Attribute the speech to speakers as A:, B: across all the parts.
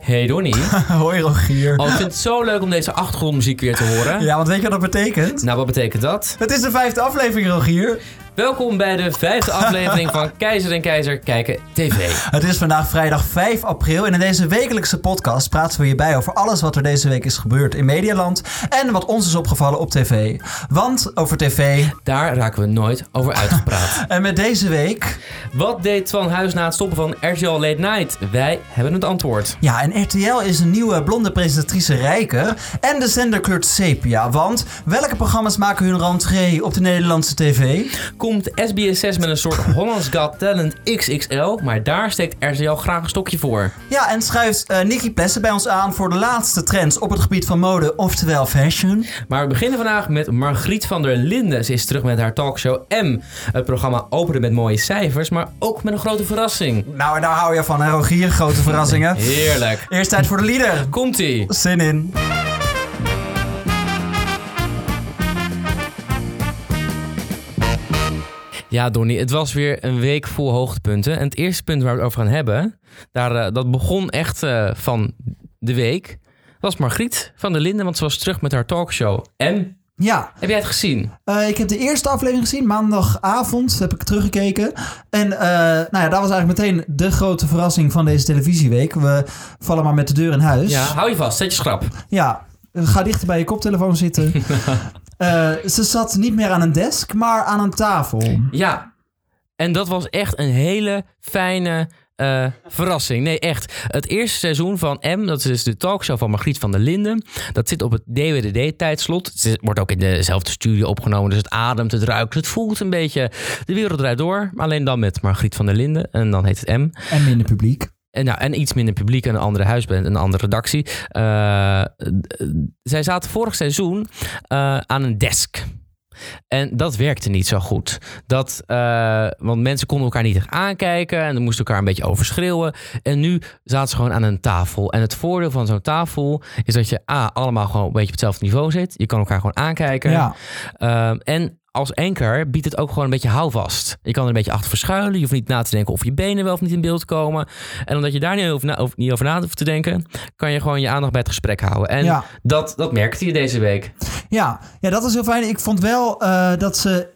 A: Hey Donnie.
B: Hoi Rogier.
A: Oh, ik vind het zo leuk om deze achtergrondmuziek weer te horen.
B: Ja, want weet je wat dat betekent?
A: Nou, wat betekent dat?
B: Het is de vijfde aflevering, Rogier.
A: Welkom bij de vijfde aflevering van Keizer en Keizer Kijken TV.
B: Het is vandaag vrijdag 5 april en in deze wekelijkse podcast praten we je bij over alles wat er deze week is gebeurd in Medialand en wat ons is opgevallen op tv. Want over tv
A: Daar raken we nooit over uitgepraat.
B: en met deze week...
A: Wat deed Twan Huis na het stoppen van RTL Late Night? Wij hebben het antwoord.
B: Ja, en RTL is een nieuwe blonde presentatrice rijker en de zender kleurt sepia. Want welke programma's maken hun rentree op de Nederlandse tv?
A: Komt SBS6 met een soort Hollands Got Talent XXL, maar daar steekt RTL graag een stokje voor.
B: Ja, en schuift eh Nicky Plessen bij ons aan voor de laatste trends op het gebied van mode, oftewel fashion.
A: Maar we beginnen vandaag met Margriet van der Linden. Ze is terug met haar talkshow M. Het programma opende met mooie cijfers, maar ook met een grote verrassing.
B: Nou, en daar hou je van, hè, Rogier? Grote verrassingen.
A: Heerlijk.
B: Eerst tijd voor de lieder.
A: Komt-ie.
B: Zin in.
A: Ja, Donnie, het was weer een week vol hoogtepunten. En het eerste punt waar we het over gaan hebben, daar, eh, dat begon echt eh, van de week. Dat was Margriet van der Linden, want ze was terug met haar talkshow. En,
B: Ja,
A: heb jij het gezien?
B: eh, ik heb de eerste aflevering gezien. Maandagavond heb ik teruggekeken. En eh, nou ja, dat was eigenlijk meteen de grote verrassing van deze televisieweek. We vallen maar met de deur in huis.
A: Ja, hou je vast, zet je schrap.
B: Ja, ga dichter bij je koptelefoon zitten. Eh, ze zat niet meer aan een desk, maar aan een tafel.
A: Ja, en dat was echt een hele fijne eh, verrassing. Nee, echt. Het eerste seizoen van M, dat is dus de talkshow van Margriet van der Linden. Dat zit op het DWDD-tijdslot. Het is- wordt ook in dezelfde studio opgenomen. Dus het ademt, het ruikt, het voelt een beetje. De wereld draait door. Maar alleen dan met Margriet van der Linden. En dan heet het M.
B: En minder publiek.
A: En, nou, en iets minder publiek en een andere huisband, een andere redactie. Eh, d- d- zij zaten vorig seizoen eh, aan een desk. En dat werkte niet zo goed. Dat, eh, want mensen konden elkaar niet echt aankijken en moesten elkaar een beetje overschreeuwen. En nu zaten ze gewoon aan een tafel. En het voordeel van zo'n tafel is dat je A, allemaal gewoon een beetje op hetzelfde niveau zit. Je kan elkaar gewoon aankijken.
B: Ja.
A: Ehm, en als anker biedt het ook gewoon een beetje houvast. Je kan er een beetje achter verschuilen. Je hoeft niet na te denken of je benen wel of niet in beeld komen. En omdat je daar niet over na, of- niet over na hoeft te denken, kan je gewoon je aandacht bij het gesprek houden. En
B: Ja.
A: dat, dat merkte je deze week.
B: Ja, ja, dat is heel fijn. Ik vond wel eh, dat ze,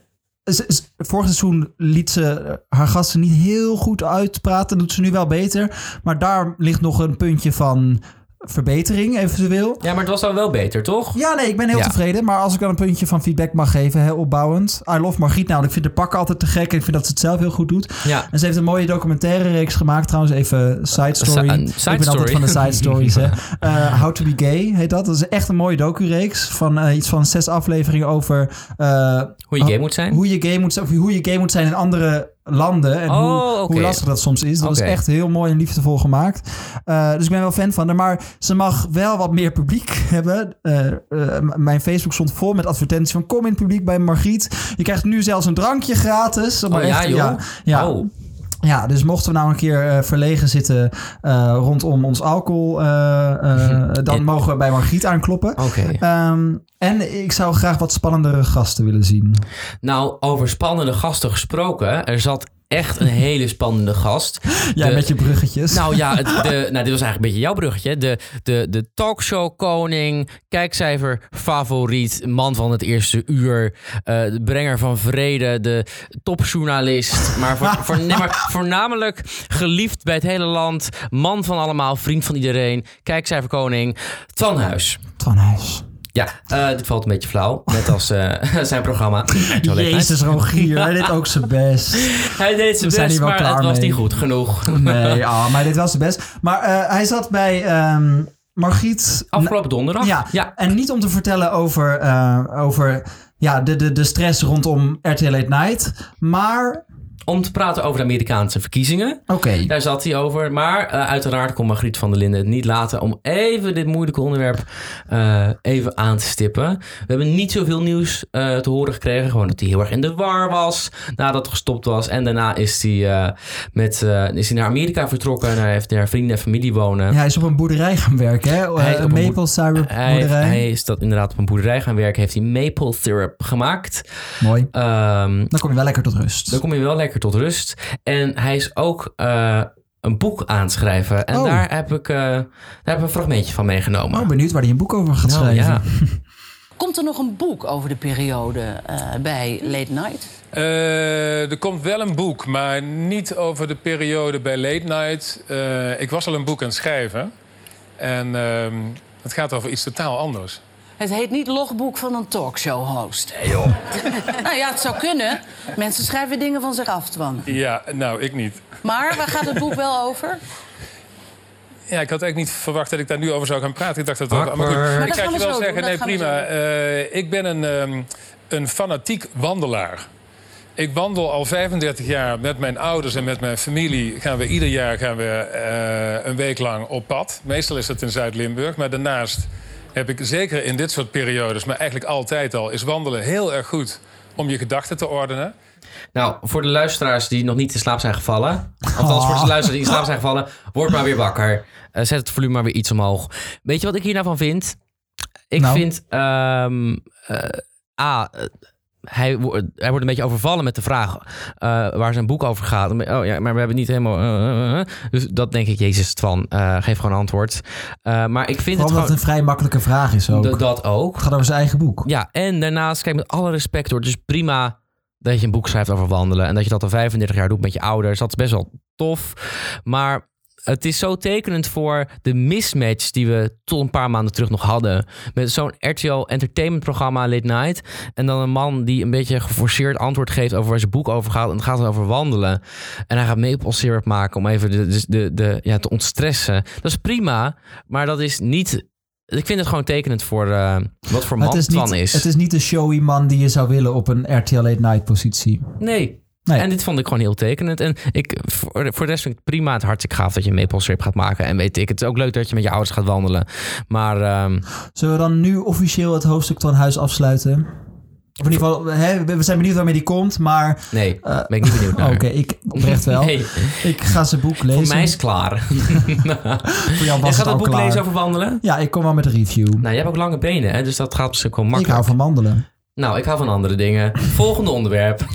B: ze- ze- Vorig seizoen liet ze eh, haar gasten niet heel goed uitpraten. Doet ze nu wel beter. Maar daar ligt nog een puntje van verbetering, eventueel.
A: Ja, maar het was dan wel beter, toch?
B: Ja, nee, ik ben heel
A: Ja.
B: tevreden. Maar als ik dan een puntje van feedback mag geven, heel opbouwend. I love Margriet nou. want Ik vind de pakken altijd te gek. En ik vind dat ze het zelf heel goed doet.
A: Ja.
B: En ze heeft een mooie documentaire reeks gemaakt. Trouwens, even side story.
A: Eh, si- eh,
B: ik ben
A: side
B: altijd
A: story.
B: van de side stories. Hè. Eh, How to be gay heet dat. Dat is echt een mooie docu-reeks van eh, iets van zes afleveringen over eh,
A: Hoe je game moet zijn.
B: hoe je gay moet zijn, of hoe je gay moet zijn in andere landen en
A: Oh,
B: hoe,
A: oké.
B: hoe lastig dat soms is. Dat
A: Oké.
B: is echt heel mooi en liefdevol gemaakt. Eh, dus ik ben wel fan van haar, maar ze mag wel wat meer publiek hebben. Eh, eh, m- mijn Facebook stond vol met advertenties van kom in het publiek bij Margriet. Je krijgt nu zelfs een drankje gratis.
A: Oh, ja, joh.
B: Ja, ja.
A: Oh,
B: Ja, dus mochten we nou een keer eh, verlegen zitten eh, rondom ons alcohol, eh, eh, dan
A: En-
B: mogen we bij Margriet aankloppen.
A: oké.
B: Ehm, en ik zou graag wat spannendere gasten willen zien.
A: Nou, over spannende gasten gesproken. Er zat echt een hele spannende gast.
B: Jij
A: De-
B: met je bruggetjes.
A: Nou ja, het, de, nou, dit was eigenlijk een beetje jouw bruggetje. De, de, de talkshow-koning, kijkcijfer, favoriet, man van het eerste uur, eh, de brenger van vrede, de topjournalist. Maar, voor, voor, nee, maar voornamelijk geliefd bij het hele land, man van allemaal, vriend van iedereen, kijkcijferkoning, Tanhuis.
B: Van Huis.
A: Ja, eh, dit valt een beetje flauw, net als eh, zijn programma.
B: Jezus, Rogier, hij deed ook zijn best.
A: Hij deed zijn
B: We zijn
A: best,
B: hier wel
A: maar
B: klaar
A: het was
B: mee.
A: niet goed genoeg.
B: Nee, ah, maar dit was zijn best. Maar eh, hij zat bij ehm Margriet.
A: Afgelopen donderdag.
B: Ja.
A: ja.
B: En niet om te vertellen over, eh, over ja, de, de, de stress rondom RTL Late Night. Maar,
A: Om te praten over de Amerikaanse verkiezingen.
B: oké.
A: Daar zat hij over. Maar eh, uiteraard kon Margriet van der Linden het niet laten om even dit moeilijke onderwerp eh, even aan te stippen. We hebben niet zoveel nieuws eh, te horen gekregen. Gewoon dat hij heel erg in de war was nadat hij gestopt was. En daarna is hij, eh, met, eh, is hij naar Amerika vertrokken. En hij heeft daar vrienden en familie wonen.
B: Ja, hij is op een boerderij gaan werken, hè?
A: Hij is
B: Eh,
A: op
B: een
A: een
B: maple syrup
A: Hij, heeft-
B: boerderij.
A: hij is dat inderdaad op een boerderij gaan werken. Heeft hij maple syrup gemaakt.
B: Mooi.
A: Ehm
B: Dan kom je wel lekker tot rust.
A: Dan kom je wel lekker tot rust. En hij is ook eh, een boek aanschrijven. En
B: Oh.
A: daar, heb ik, eh, daar heb ik een fragmentje van meegenomen.
B: Oh, benieuwd waar hij een boek over gaat
A: Nou,
B: schrijven.
A: ja.
C: Komt er nog een boek over de periode eh, bij Late Night?
D: Eh, er komt wel een boek, maar niet over de periode bij Late Night. Eh, ik was al een boek aan het schrijven. En ehm, het gaat over iets totaal anders.
C: Het heet niet logboek van een talkshow-host. joh. nou ja, het zou kunnen. Mensen schrijven dingen van zich af, Twan.
D: Ja, nou, ik niet.
C: Maar waar gaat het boek wel over?
D: Ja, ik had eigenlijk niet verwacht dat ik daar nu over zou gaan praten. Ik dacht dat het ook...
A: Awkward. Maar
C: dat
D: ik ga
C: gaan
D: je
C: we
D: wel
C: zo doen,
D: zeggen,
C: dat
D: nee,
C: gaan we
D: prima.
C: zo
D: Eh, ik ben een, ehm, een fanatiek wandelaar. Ik wandel al 35 jaar met mijn ouders en met mijn familie. Gaan we ieder jaar gaan we, eh, een week lang op pad. Meestal is dat in Zuid-Limburg. Maar daarnaast heb ik zeker in dit soort periodes... maar eigenlijk altijd al, is wandelen heel erg goed om je gedachten te ordenen.
A: Nou, voor de luisteraars die nog niet in slaap zijn gevallen. Althans, voor de
B: Oh.
A: luisteraars die in slaap zijn gevallen. Word maar weer wakker. Eh, zet het volume maar weer iets omhoog. Weet je wat ik hier nou van vind? Ik
B: Nou?
A: vind. ehm, eh, A. eh, hij, wo- hij wordt een beetje overvallen met de vraag eh, waar zijn boek over gaat. Oh ja, maar we hebben het niet helemaal. eh, eh, eh. Dus dat denk ik, Jezus, Twan, eh, geef gewoon antwoord. Eh, maar ik vind
B: Vooral dat het een
A: het
B: vrij makkelijke vraag is ook.
A: gewoon.
B: Het
A: d- dat ook.
B: gaat over zijn eigen boek.
A: Ja, en daarnaast, kijk, met alle respect hoor, het is prima dat je een boek schrijft over wandelen. En dat je dat al 35 jaar doet met je ouders. Dat is best wel tof. Maar het is zo tekenend voor de mismatch die we tot een paar maanden terug nog hadden. Met zo'n RTL Entertainment programma Late Night. En dan een man die een beetje geforceerd antwoord geeft over waar zijn boek over gaat. En het gaat over wandelen. En hij gaat maple syrup maken om even de, de, de, de- ja, te ontstressen. Dat is prima, maar dat is niet... Ik vind het gewoon tekenend voor eh, wat voor man
B: het, is niet,
A: Twan is.
B: het is niet de showy man die je zou willen op een RTL Late Night positie.
A: Nee.
B: Nee.
A: En dit vond ik gewoon heel tekenend. En ik, voor, voor de rest vind ik het prima het hartstikke gaaf dat je een maple syrup gaat maken. En weet ik, het is ook leuk dat je met je ouders gaat wandelen. Maar ehm,
B: Zullen we dan nu officieel het hoofdstuk van huis afsluiten? Of in ieder geval, hè, we we zijn benieuwd waarmee die komt, maar...
A: nee,
B: eh,
A: ben ik niet benieuwd naar.
B: Oké, ik oprecht wel.
A: Nee,
B: Ik ga zijn boek lezen.
A: voor mij is het klaar.
B: Voor jou
A: Jij
B: was
A: gaat
B: het
A: het
B: al
A: boek
B: klaar.
A: lezen over wandelen?
B: Ja, ik kom wel met een review.
A: Nou, jij hebt ook lange benen, hè, dus dat gaat misschien wel
B: ik
A: makkelijk.
B: hou van wandelen.
A: Nou, ik hou van andere dingen. Volgende onderwerp.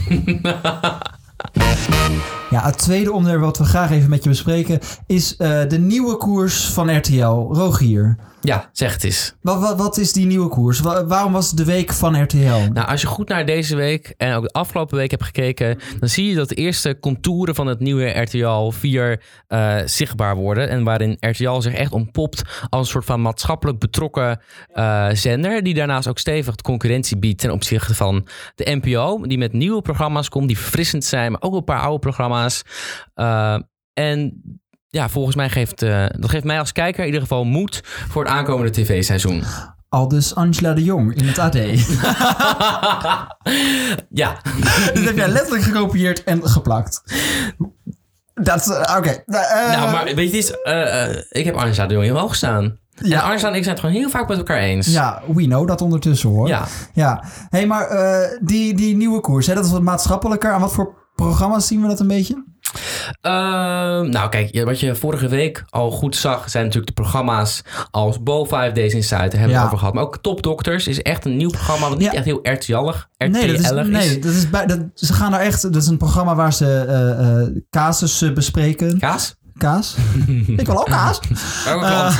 B: Ja, het tweede onderwerp wat we graag even met je bespreken is eh, de nieuwe koers van RTL. Rogier,
A: Ja, zeg het eens.
B: wat, wat, wat is die nieuwe koers? Wa- waarom was het de week van RTL?
A: Nou, als je goed naar deze week en ook de afgelopen week hebt gekeken, dan zie je dat de eerste contouren van het nieuwe RTL 4 eh, zichtbaar worden. En waarin RTL zich echt ontpopt als een soort van maatschappelijk betrokken eh, zender. Die daarnaast ook stevig de concurrentie biedt ten opzichte van de NPO. Die met nieuwe programma's komt, die verfrissend zijn, maar ook een paar oude programma's. Eh, en ja, volgens mij geeft eh, dat geeft mij als kijker in ieder geval moed voor het aankomende tv-seizoen.
B: Al dus Angela de Jong in het AD. Dit
A: ja.
B: heb jij letterlijk gekopieerd en geplakt. Dat, eh, oké. Eh,
A: Nou, maar weet je, het is, eh, eh, ik heb Arnza de Jong heel hoog staan. En
B: Ja.
A: Arnza en ik zijn het gewoon heel vaak met elkaar eens.
B: Ja, we know dat ondertussen hoor.
A: Ja.
B: ja. Hé, hey, maar eh, die, die nieuwe koers, hè, dat is wat maatschappelijker. Aan wat voor programma's zien we dat een beetje?
A: Ehm, nou, kijk, ja, wat je vorige week al goed zag, zijn natuurlijk de programma's als Bo 5 Days Inside, daar hebben we
B: Ja.
A: het over gehad. Maar ook Top Doctors is echt een nieuw programma, wat niet
B: Ja.
A: echt heel RTL-ig
B: Nee, dat is,
A: RTL-ig
B: nee
A: is.
B: dat is bij, dat, ze gaan daar echt. Dat is een programma waar ze eh, eh, casussen bespreken.
A: Kaas?
B: kaas? Ik wil ook kaas.
A: Welke klant?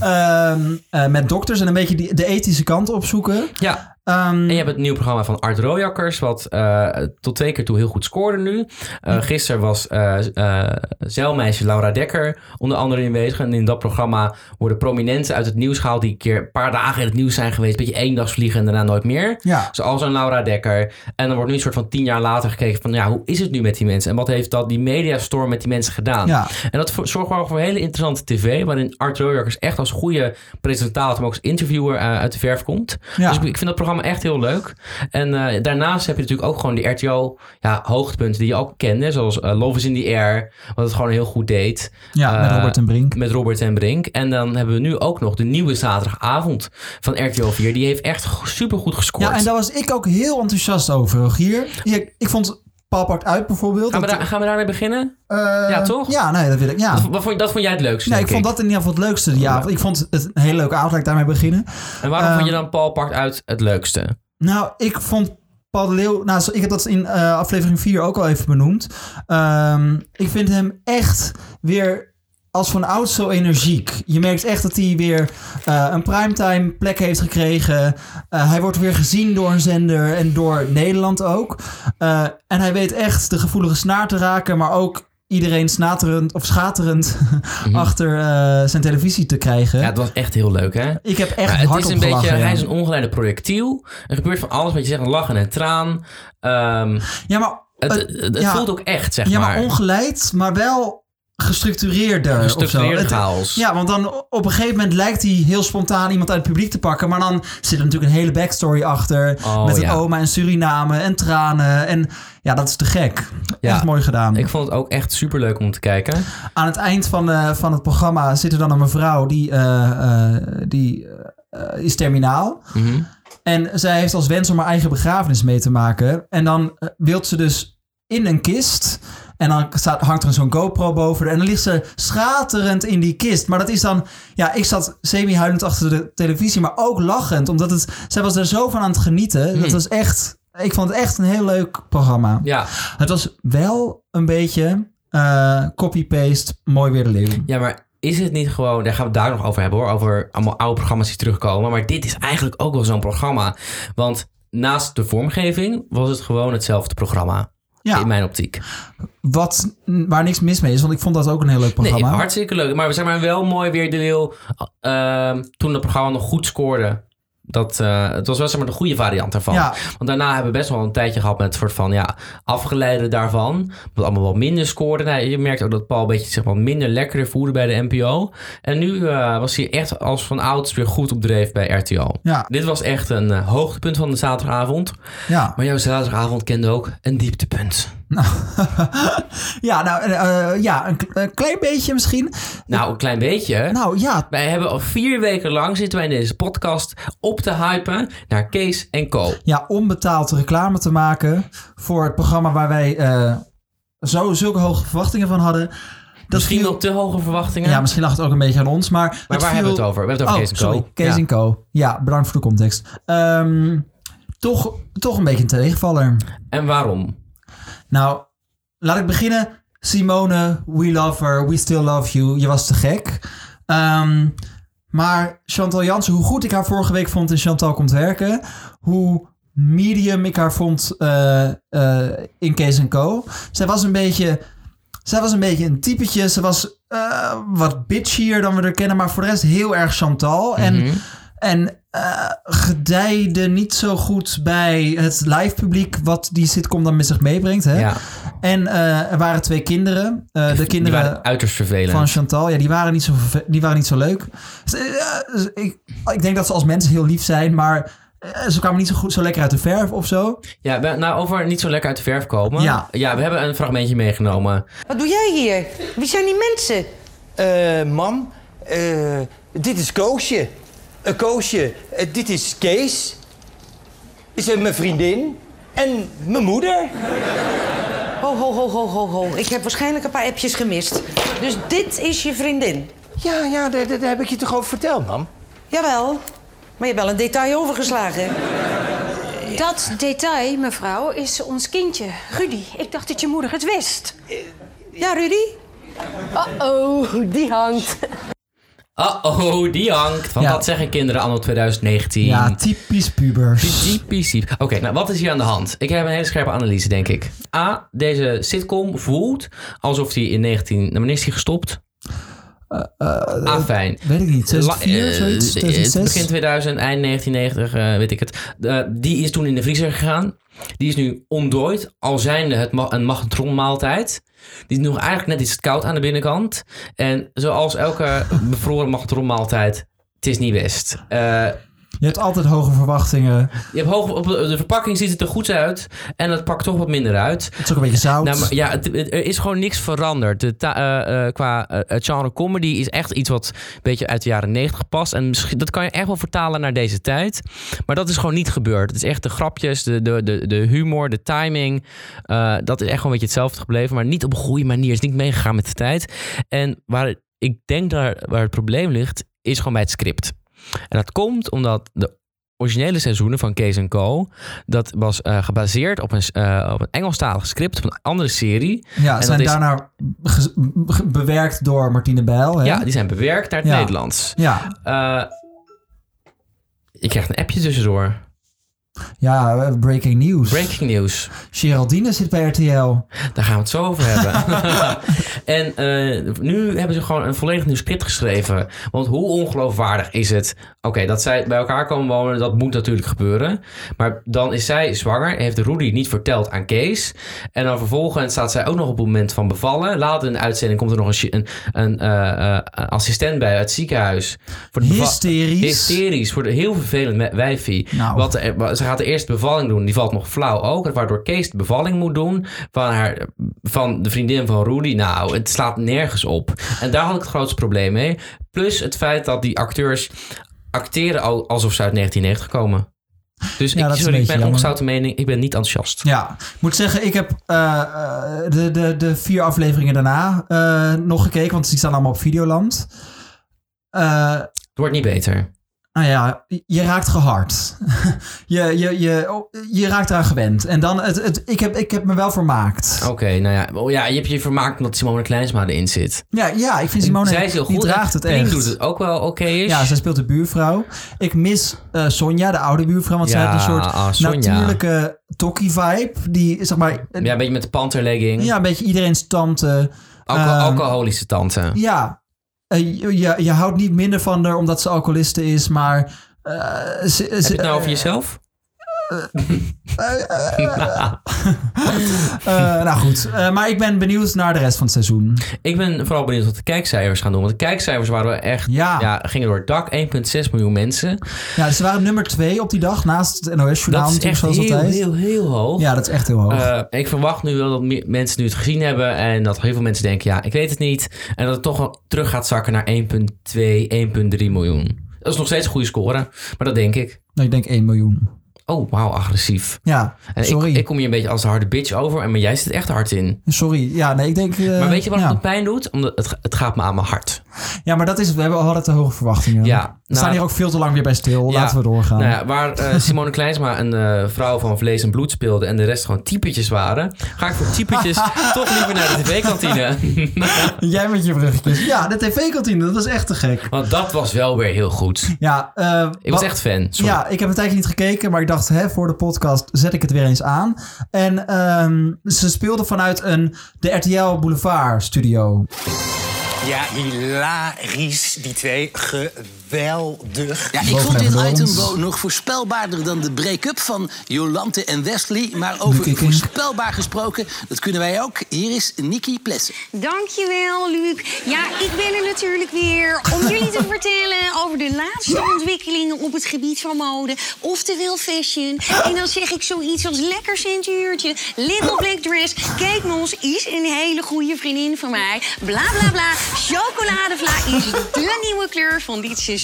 B: Eh, Ehm, eh, met dokters en een beetje die, de ethische kant opzoeken.
A: Ja,
B: Ehm,
A: en je hebt het nieuwe programma van Art Rojakkers, wat eh, tot twee keer toe heel goed scoorde nu. Eh gisteren was eh eh, zeilmeisje Laura Dekker onder andere aanwezig. En in dat programma worden prominenten uit het nieuws gehaald... die een keer een paar dagen in het nieuws zijn geweest. Beetje één dag vliegen en daarna nooit meer.
B: ja.
A: Zoals een Laura Dekker. En dan wordt nu een soort van tien jaar later gekeken van... ja, hoe is het nu met die mensen? En wat heeft dat, die mediastorm met die mensen gedaan?
B: Ja.
A: En dat vo- zorgt wel voor hele interessante tv... waarin Art Rojakkers echt als goede presentator... maar ook als interviewer eh, uit de verf komt.
B: Ja.
A: Dus ik, ik vind dat programma echt heel leuk. En eh, daarnaast heb je natuurlijk ook gewoon die RTO ja, hoogtepunten die je ook kende. Zoals eh, Love is in the Air, wat het gewoon heel goed deed.
B: ja, met
A: Eh,
B: Robert en Brink.
A: Met Robert en Brink. En dan hebben we nu ook nog de nieuwe zaterdagavond van RTL 4. Die heeft echt g- supergoed gescoord.
B: Ja, en daar was ik ook heel enthousiast over, Rogier. Ik, ik vond Paul Pakt uit bijvoorbeeld.
A: gaan, we
B: dat-
A: daar, gaan we daarmee beginnen?
B: eh,
A: ja, toch?
B: Ja, nee, dat wil ik. Ja.
A: Dat, wat vond, Oh, dat vond jij het leukste,
B: Nee, ik
A: denk
B: vond dat in ieder geval het leukste. Ja, ik vond het een hele leuke avond. Laat ik daarmee beginnen.
A: En waarom
B: ehm,
A: vond je dan Paul Pakt uit het leukste?
B: Nou, ik vond Paul de Leeuw, nou, zo- ik heb dat in eh, aflevering 4 ook al even benoemd. Ehm, ik vind hem echt weer als van oud zo energiek. Je merkt echt dat hij weer eh, een primetime plek heeft gekregen. Eh, hij wordt weer gezien door een zender en door Nederland ook. Eh, en hij weet echt de gevoelige snaar te raken, maar ook iedereen snaterend of schaterend achter eh, zijn televisie te krijgen.
A: Mhm. Ja, het was echt heel leuk, hè?
B: ik heb echt
A: Ja, het
B: hard
A: is
B: op
A: een beetje,
B: gelachen, ja.
A: hij is een ongeleide projectiel. Er gebeurt van alles wat je zegt, een lachen en traan. Ehm,
B: Ja, maar
A: het
B: het-
A: het, het
B: ja.
A: voelt ook echt, zeg
B: Ja,
A: maar.
B: maar ongeleid, maar wel gestructureerder. of zo.
A: Gestructureerde
B: Het-
A: chaos.
B: Ja, want dan op een gegeven moment lijkt hij heel spontaan iemand uit het publiek te pakken. Maar dan zit er natuurlijk een hele backstory achter.
A: Oh,
B: met een
A: ja.
B: oma en Suriname en tranen. En ja, dat is te gek.
A: Ja.
B: Echt mooi gedaan.
A: Ik vond het ook echt superleuk om te kijken.
B: Aan het eind van, eh, van het programma zit er dan een mevrouw die, eh, eh, die eh, is terminaal.
A: Mhm.
B: En zij heeft als wens om haar eigen begrafenis mee te maken. En dan eh, wilt ze dus in een kist. En dan staat, hangt er zo'n GoPro boven. haar. En dan ligt ze schaterend in die kist. Maar dat is dan... Ja, ik zat semi-huilend achter de televisie. Maar ook lachend. Omdat het... Zij was er zo van aan het genieten. Dat was echt... Ik vond het echt een heel leuk programma.
A: Hmm. Ja.
B: Het was wel een beetje... eh, copy-paste, mooi weer de leeuw.
A: ja, maar is het niet gewoon... Daar gaan we het daar nog over hebben, hoor. Over allemaal oude programma's die terugkomen. Maar dit is eigenlijk ook wel zo'n programma. Want naast de vormgeving was het gewoon hetzelfde programma.
B: Ja.
A: In mijn optiek.
B: Wat, waar niks mis mee is, want ik vond dat ook een heel leuk
A: Nee,
B: programma.
A: hartstikke leuk. Maar we zijn maar wel mooi weer de deel. ehm, toen het programma nog goed scoorde. Dat, eh, het was wel zeg maar de goede variant daarvan.
B: Ja.
A: Want daarna hebben we best wel een tijdje gehad met het soort van ja, afgeleide daarvan. Wat allemaal wat minder scoorde. Nou, je merkt ook dat Paul een beetje zeg maar, minder lekkere voerde bij de NPO. En nu eh, was hij echt als van ouds weer goed opdreef bij RTL.
B: Ja.
A: Dit was echt een eh, hoogtepunt van de zaterdagavond.
B: ja.
A: Maar jouw zaterdagavond kende ook een dieptepunt.
B: Ja, nou, eh, eh, ja, een, k- een klein beetje misschien.
A: Nou, een klein beetje.
B: Nou ja,
A: Wij hebben al vier weken lang zitten wij in deze podcast op te hypen naar Kees en Co.
B: ja, onbetaald reclame te maken voor het programma waar wij eh, zo, zulke hoge verwachtingen van hadden. Dat
A: Misschien
B: viel-
A: wel te hoge verwachtingen.
B: Ja, misschien lag het ook een beetje aan ons, maar... Maar
A: waar hebben we het over? We hebben het over
B: oh,
A: Kees en Co.
B: sorry, Kees
A: Ja.
B: en Co. Ja, bedankt voor de context. Ehm, toch, toch een beetje een tegenvaller.
A: En waarom?
B: Nou, laat ik beginnen. Simone, we love her, we still love you. Je was te gek. Ehm, maar Chantal Jansen, hoe goed ik haar vorige week vond in Chantal komt werken, hoe medium ik haar vond eh, eh, in Kees Co. Zij was een beetje, zij was een beetje een typetje. Ze was eh, wat bitchier dan we haar kennen, maar voor de rest heel erg Chantal. En en eh gedijde niet zo goed bij het live publiek wat die sitcom dan met zich meebrengt. Hè?
A: Ja.
B: En eh, er waren twee kinderen. Eh, de
A: Die
B: kinderen
A: waren uiterst vervelend.
B: van Chantal, ja, die waren niet zo, verve- die waren niet zo leuk. Dus, eh, dus ik, ik denk dat ze als mensen heel lief zijn, maar eh, ze kwamen niet zo, goed, zo lekker uit de verf of zo.
A: Ja, we- nou over niet zo lekker uit de verf komen.
B: Ja.
A: we hebben een fragmentje meegenomen.
E: Wat doe jij hier? Wie zijn die mensen?
F: Eh, mam, eh, dit is Koosje. Eh, Koosje, eh, dit is Kees. Is eh, mijn vriendin. En mijn moeder.
E: Ho, ho, ho, ho, ho, ho. Ik heb waarschijnlijk een paar appjes gemist. Dus dit is je vriendin?
F: Ja, ja, daar, daar- daar heb ik je toch over verteld, mam?
E: Jawel. Maar je hebt wel een detail overgeslagen.
G: Dat detail, mevrouw, is ons kindje, Rudy. Ik dacht dat je moeder het wist.
E: Ja, Rudy?
G: Oh, die hangt.
A: Oh, die hangt. Want
B: Ja.
A: dat zeggen kinderen anno 2019.
B: Ja, typisch pubers.
A: Typisch. typisch. Oké, nou wat is hier aan de hand? Ik heb een hele scherpe analyse, denk ik. A, deze sitcom voelt alsof die in 19... Nou, wanneer is die gestopt? ah, fijn.
B: Weet ik niet,
A: La-
B: 2004,
A: eh,
B: zoiets,
A: eh, Begin
B: 2006?
A: 2000, eind 1990, eh, weet ik het. Eh, die is toen in de vriezer gegaan. Die is nu ontdooid, al zijnde het ma- een magnetron maaltijd. Die is nog eigenlijk net iets koud aan de binnenkant. En zoals elke bevroren magnetron maaltijd, het is niet best. Eh,
B: Je hebt altijd hoge verwachtingen.
A: je hebt hoog, op de de verpakking ziet het er goed uit. En het pakt toch wat minder uit.
B: Het is ook een beetje zout.
A: Nou, maar ja, het, het- er is gewoon niks veranderd. De ta- eh, eh, qua eh, het genre comedy is echt iets wat een beetje uit de jaren negentig past. En misschien, dat kan je echt wel vertalen naar deze tijd. Maar dat is gewoon niet gebeurd. Het is echt de grapjes, de, de, de, de humor, de timing. eh, dat is echt gewoon een beetje hetzelfde gebleven. Maar niet op een goede manier. Is niet meegegaan met de tijd. En waar ik denk daar, waar het probleem ligt, is gewoon bij het script. En dat komt omdat de originele seizoenen van Kees en Co. Dat was eh, gebaseerd op een, s- eh, op een Engelstalig script, op een andere serie.
B: Ja,
A: dat
B: zijn
A: is-
B: daarna ge- ge- bewerkt door Martine Bijl. Hè?
A: Ja, die zijn bewerkt naar het
B: Ja.
A: Nederlands.
B: Ja,
A: Eh je krijgt een appje tussendoor.
B: ja, eh, breaking news.
A: Breaking news.
B: Geraldine zit bij RTL.
A: Daar gaan we het zo over hebben. en eh, nu hebben ze gewoon een volledig nieuw script geschreven. Want hoe ongeloofwaardig is het? Oké, dat zij bij elkaar komen wonen, dat moet natuurlijk gebeuren. Maar dan is zij zwanger, heeft Rudy niet verteld aan Kees. En dan vervolgens staat zij ook nog op het moment van bevallen. Later in de uitzending komt er nog een, chi- een, een, eh, eh, een assistent bij uit het ziekenhuis. Voor de beva-
B: Hysterisch.
A: Hysterisch. Voor de heel vervelend me- wijfie.
B: Nou.
A: Wat, er- wa- ze gaat de eerste bevalling doen. Die valt nog flauw ook. Waardoor Kees de bevalling moet doen van, haar, van de vriendin van Rudy. Nou, het slaat nergens op. En daar had ik het grootste probleem mee. Plus het feit dat die acteurs acteren al- alsof ze uit 1990 komen. Dus
B: Ja, dat
A: ik, sorry,
B: is een
A: ik
B: beetje
A: ben
B: jammer.
A: ongezouten mening. Ik ben niet enthousiast.
B: Ja, ik moet zeggen, ik heb eh, eh, de, de, de vier afleveringen daarna eh, nog gekeken, want die staan allemaal op Videoland. Eh
A: Het wordt niet beter.
B: nou ja, je raakt gehard. je, je, je, oh, je raakt eraan gewend. En dan, het, het, ik, heb, ik heb me wel vermaakt.
A: Oké, nou ja. Oh ja, je hebt je vermaakt omdat Simone Kleinsma erin zit.
B: Ja, ja, ik vind Simone,
A: Zij is heel
B: die
A: goed.
B: draagt het
A: Pien
B: echt.
A: doet het ook wel oké is.
B: Ja, zij speelt de buurvrouw. Ik mis eh, Sonja, de oude buurvrouw, want zij
A: Ja,
B: had een soort
A: ah, Sonja.
B: natuurlijke tokkie-vibe. Die, zeg maar, eh,
A: Ja, een beetje met de panterlegging.
B: ja, een beetje iedereen's tante.
A: Alco-
B: Ehm,
A: alcoholische tante.
B: Ja, eh, je, je, je houdt niet minder van haar omdat ze alcoholiste is, maar... eh, ze,
A: Heb je
B: ze-
A: het nou over jezelf?
B: eh, nou goed, Eh, maar ik ben benieuwd naar de rest van het seizoen.
A: Ik ben vooral benieuwd wat de kijkcijfers gaan doen. Want de kijkcijfers waren wel echt...
B: Ja.
A: Ja, gingen door het dak. 1,6 miljoen mensen.
B: Ja, ze waren nummer twee op die dag naast het
A: Dat
B: NOS-journaal
A: is
B: natuurlijk,
A: echt
B: Nou, zoals
A: heel,
B: altijd.
A: heel, heel hoog.
B: Ja, dat is echt heel hoog.
A: Eh, ik verwacht nu wel dat meer mensen nu het gezien hebben. En dat heel veel mensen denken, ja, ik weet het niet. En dat het toch wel terug gaat zakken naar 1,2, 1,3 miljoen. Dat is nog steeds een goede score. Maar dat denk ik.
B: nou, ik denk 1 miljoen.
A: Oh, wauw, agressief.
B: Ja,
A: En ik,
B: sorry.
A: ik kom je een beetje als de harde bitch over. en Maar jij zit echt hard in.
B: Sorry, ja, nee, ik denk... eh,
A: Maar weet je wat
B: ja.
A: het pijn doet? Omdat het, het gaat me aan mijn hart.
B: Ja, maar dat is, we hebben al hadden te hoge verwachtingen.
A: Ja,
B: we staan
A: nou-
B: hier ook veel te lang weer bij stil.
A: Ja,
B: Laten we doorgaan.
A: Nou ja, waar eh, Simone Kleinsma een eh, vrouw van vlees en bloed speelde en de rest gewoon typetjes waren, ga ik voor typetjes toch liever naar de tv-kantine.
B: Jij met je bruggetjes. Ja, de tv-kantine, dat was echt te gek.
A: Want dat was wel weer heel goed.
B: Ja, eh,
A: Ik was
B: wa-
A: echt fan. Sorry.
B: Ja, ik heb een tijdje niet gekeken, maar ik dacht, hè, voor de podcast zet ik het weer eens aan. En ehm, ze speelde vanuit een, de RTL Boulevard studio.
H: Ja, hilarisch, die twee. Geweldig.
I: Ja, ik
B: Boven
I: vond
B: en
I: dit
B: onder
I: item
B: ons.
I: wel nog voorspelbaarder dan de break-up van Jolante en Wesley. Maar
B: Nicky
I: over
B: Kink.
I: voorspelbaar gesproken, dat kunnen wij ook. Hier is Nicky Plessen.
J: Dankjewel, Luc. Ja, ik ben er natuurlijk weer om jullie te vertellen over de laatste ontwikkelingen op het gebied van mode, oftewel fashion. En dan zeg ik zoiets als lekker centuurtje, little black dress. Kate Moss is een hele goede vriendin van mij. Bla bla bla. Chocoladevla is de nieuwe kleur van dit seizoen.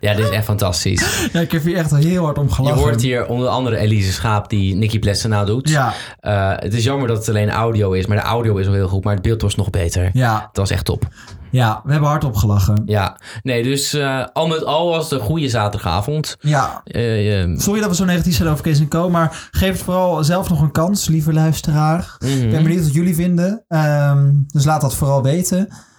A: Ja, dit is echt fantastisch.
B: Ja, ik heb hier echt heel hard om
A: Je
B: gelachen.
A: hoort hier onder andere Elise Schaap die Nicky Plessen nou doet.
B: Ja.
A: Eh, het is jammer dat het alleen audio is, maar de audio is wel heel goed. Maar het beeld was nog beter.
B: Ja,
A: Het was echt top.
B: ja, we hebben hard opgelachen.
A: Ja, nee, dus eh, al met al was het een goede zaterdagavond.
B: Ja,
A: Eh, eh,
B: sorry dat we zo negatief zijn over Kees en Co. Maar geef het vooral zelf nog een kans, lieve luisteraar. Ik
A: Mhm.
B: ben benieuwd wat jullie vinden. Ehm, dus laat dat vooral weten.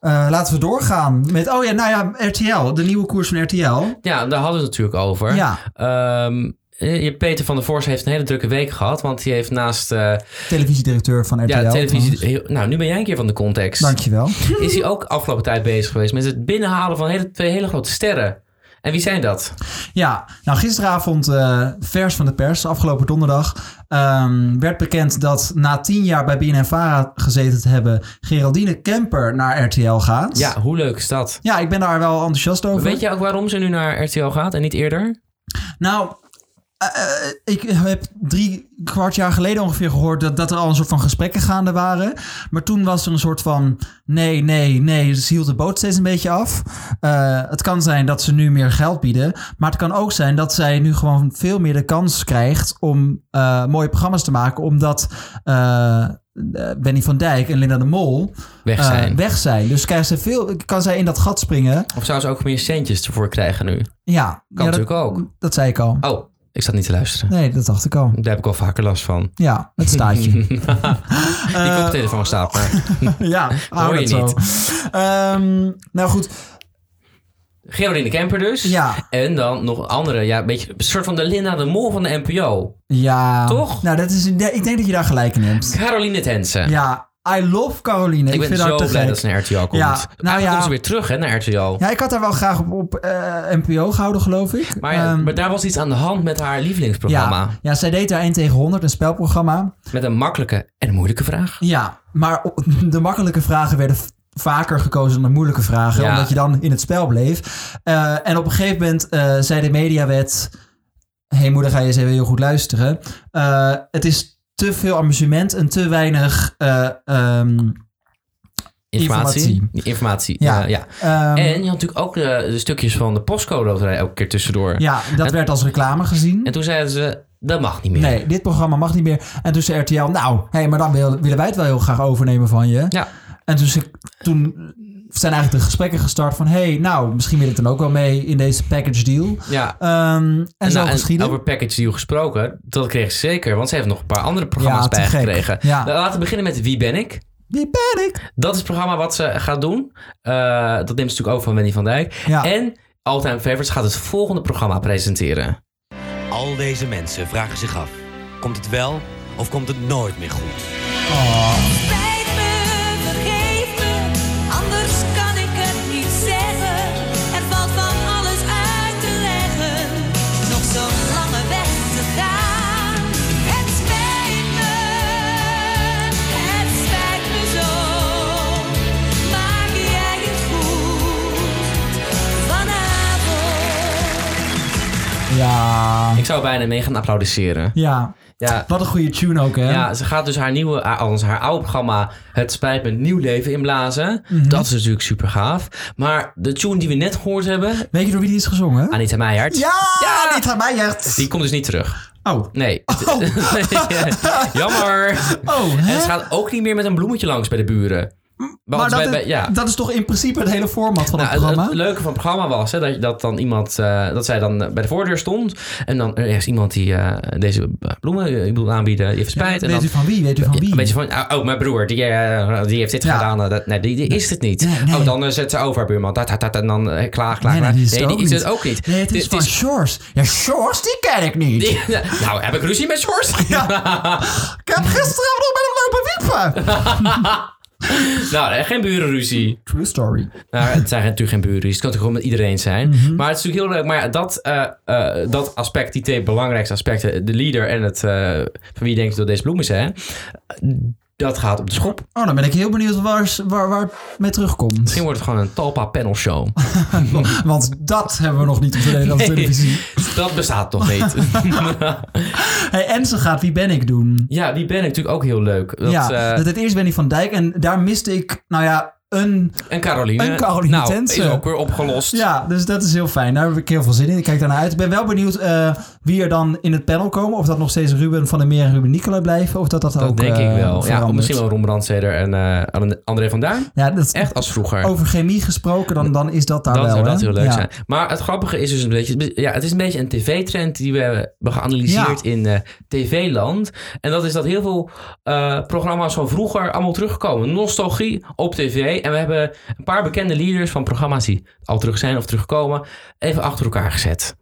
B: Eh, laten we doorgaan met, oh ja, nou ja, RTL. De nieuwe koers van RTL.
A: Ja, daar hadden we het natuurlijk over.
B: Ja.
A: Ehm, eh, Peter van der Vorst heeft een hele drukke week gehad. Want hij heeft naast eh,
B: Televisiedirecteur van RTL.
A: ja,
B: trouwens.
A: televisie... heel- nou, nu ben jij een keer van de context.
B: Dankjewel.
A: Is hij ook afgelopen tijd bezig geweest met het binnenhalen van hele, twee hele grote sterren. En wie zijn dat?
B: Ja, nou gisteravond, eh, vers van de pers, afgelopen donderdag, ehm, werd bekend dat na tien jaar bij BNNVARA gezeten te hebben, Geraldine Kemper naar RTL gaat.
A: Ja, hoe leuk is dat?
B: Ja, ik ben daar wel enthousiast over.
A: Weet je ook waarom ze nu naar RTL gaat en niet eerder?
B: Nou, eh, eh, ik heb drie kwart jaar geleden ongeveer gehoord dat, dat er al een soort van gesprekken gaande waren. Maar toen was er een soort van nee, nee, nee. Ze hield de boot steeds een beetje af. Eh, het kan zijn dat ze nu meer geld bieden. Maar het kan ook zijn dat zij nu gewoon veel meer de kans krijgt om eh, mooie programma's te maken. Omdat eh, eh, Benny van Dijk en Linda de Mol
A: Weg
B: eh,
A: zijn.
B: weg zijn. Dus krijgt ze veel, kan zij in dat gat springen.
A: Of zou ze ook meer centjes ervoor krijgen nu? Kan
B: Ja, ja, dat-
A: natuurlijk ook.
B: Dat zei ik al.
A: Oh, ik zat niet te luisteren.
B: Nee, dat dacht ik al.
A: Daar heb ik al vaker last van.
B: Ja, het staatje. Eh,
A: Die koptelefoon staat maar.
B: ja,
A: Hoor je
B: dat zo.
A: niet.
B: Ehm, nou goed,
A: Geraldine Kemper dus.
B: Ja.
A: En dan nog een andere, ja, een beetje een soort van de Linda de Mol van de NPO.
B: ja.
A: Toch?
B: Nou, dat is, nee, ik denk dat je daar gelijk in hebt.
A: Caroline Tense.
B: Ja, I love Caroline. Ik,
A: ik ben
B: vind haar
A: zo
B: te
A: blij
B: gek.
A: dat ze naar RTL komt.
B: Ja,
A: Ja,
B: nou ja.
A: komt ze weer terug hè, naar RTL.
B: Ja, ik had haar wel graag op, op eh, NPO gehouden, geloof ik.
A: maar, ja,
B: Ehm,
A: maar daar was iets aan de hand met haar lievelingsprogramma.
B: ja, ja, zij deed daar 1 tegen 100, een spelprogramma.
A: Met een makkelijke en een moeilijke vraag.
B: Ja, maar o- de makkelijke vragen werden v- vaker gekozen dan de moeilijke vragen,
A: Ja.
B: omdat je dan in het spel bleef. Eh, en op een gegeven moment eh, zei de mediawet: Hé hey moeder, ga je eens even heel goed luisteren. Eh, het is te veel amusement en te weinig. eh, ehm,
A: Informatie. Informatie.
B: Ja.
A: ja. ja.
B: Ehm,
A: en je had natuurlijk ook eh, de, de stukjes van de postcode loterij elke keer tussendoor.
B: ja, dat werd als reclame gezien.
A: En toen zeiden ze, dat mag niet meer.
B: Nee, dit programma mag niet meer. En toen zei RTL, nou, hé, maar dan wil- willen wij het wel heel graag overnemen van je.
A: Ja.
B: En toen, ze- toen zijn eigenlijk de gesprekken gestart van... hé, hey, nou, misschien wil ik dan ook wel mee in deze package deal.
A: Ja.
B: Ehm, en, zo
A: nou,
B: geschieden.
A: over package deal gesproken, dat kreeg ze zeker. Want ze heeft nog een paar andere programma's
B: Ja, te gek.
A: bijgekregen.
B: Ja.
A: Nou, Laten we beginnen met Wie ben ik?
B: Wie ben ik?
A: Dat is het programma wat ze gaat doen. Eh, dat neemt ze natuurlijk over van Wendy van Dijk.
B: Ja.
A: En All-Time Favorites gaat het volgende programma presenteren.
K: Al deze mensen vragen zich af: komt het wel of komt het nooit meer goed?
L: Spijt me, vergeef me, anders kan ik het niet zeggen. Er valt van alles uit te leggen, nog zo'n lange weg te gaan. Het spijt me, het spijt me zo. Maak jij het goed vanavond?
B: Ja.
A: Ik zou bijna mee gaan applaudisseren.
B: Ja.
A: Ja.
B: Wat een goede tune ook, hè?
A: Ja, ze gaat dus haar nieuwe, haar- althans haar oude programma Het Spijt met Nieuw Leven inblazen.
B: Mhm.
A: Dat is dus natuurlijk super gaaf. Maar de tune die we net gehoord hebben,
B: Weet je door wie die is gezongen?
A: Anita Meijert,
B: Ja, ja, dit gaat mij echt.
A: die komt dus niet terug.
B: Oh.
A: Nee. Jammer.
B: Oh, hè?
A: En ze gaat ook niet meer met een bloemetje langs bij de buren.
B: Maar
A: Want
B: dat,
A: bij- bij-
B: het-
A: ja.
B: dat is toch in principe het hele format van
A: Nou, het,
B: het programma?
A: het leuke van het programma was hè, dat, dat dan iemand, eh, dat zij dan eh, bij de voordeur stond. En dan er is iemand die eh, deze bloemen eh, ik bedoel, aanbieden, die heeft spijt. en
B: Weet
A: dan,
B: u van wie? Weet u van wie?
A: Weet je van, oh, oh, mijn broer, die, eh, die heeft dit
B: Ja.
A: gedaan. eh, dat, nee, die, die is het niet. Oh, dan eh, zet ze over haar buurman. Dat, dat, dat, en dan eh, klaag, klaag,
B: nee,
A: klaag.
B: nee, die is het ook
A: is
B: niet.
A: het ook niet.
B: Nee, het is
A: Dit
B: van Shores. Ja, Shores, die ken ik niet.
A: die- nou, heb ik ruzie met Sjors?
B: Ik heb gisteren nog met hem lopen wiepen.
A: nou, eh, geen burenruzie.
B: True story.
A: Nou, het zijn natuurlijk geen buren, dus het kan natuurlijk gewoon met iedereen zijn.
B: Mhm.
A: Maar het is natuurlijk heel leuk. Maar ja, dat, eh, eh, dat aspect, die twee belangrijkste aspecten, de leader en het eh, van wie je denkt dat deze bloemen zijn, dat gaat op de schop.
B: Oh, dan ben ik heel benieuwd waar, waar, waar het mee terugkomt.
A: Misschien wordt het gewoon een Talpa panel show.
B: Want dat hebben we nog niet op de Nederlandse
A: Nee,
B: televisie.
A: dat bestaat nog niet.
B: Hey, en ze gaat Wie ben ik doen.
A: ja, die ben ik natuurlijk ook heel leuk. Dat,
B: ja,
A: eh,
B: dat het eerst Benny van Dijk. En daar miste ik, nou ja, een...
A: en Caroline.
B: en Caroline
A: nou,
B: Tense.
A: is ook weer opgelost.
B: Ja, dus dat is heel fijn. Daar heb ik heel veel zin in. Ik kijk daarnaar uit. Ik ben wel benieuwd eh, wie er dan in het panel komen. Of dat nog steeds Ruben van der Meer en Ruben Nicola blijven. Of dat dat,
A: Dat
B: ook
A: denk ik
B: eh,
A: wel. Ja,
B: verandert.
A: misschien wel Ron Brandsteder en eh, André van Duin.
B: Ja, dat,
A: Echt als vroeger.
B: over chemie gesproken, dan, dan is dat daar
A: dat
B: Ah, wel.
A: zou
B: hè?
A: dat heel leuk
B: Ja.
A: zijn. Maar het grappige is dus een beetje... Ja, het is een beetje een tv-trend die we hebben geanalyseerd in eh, tv-land. En dat is dat heel veel eh, programma's van vroeger allemaal terugkomen. Nostalgie op tv. En we hebben een paar bekende leaders van programma's die al terug zijn of terugkomen... even achter elkaar gezet.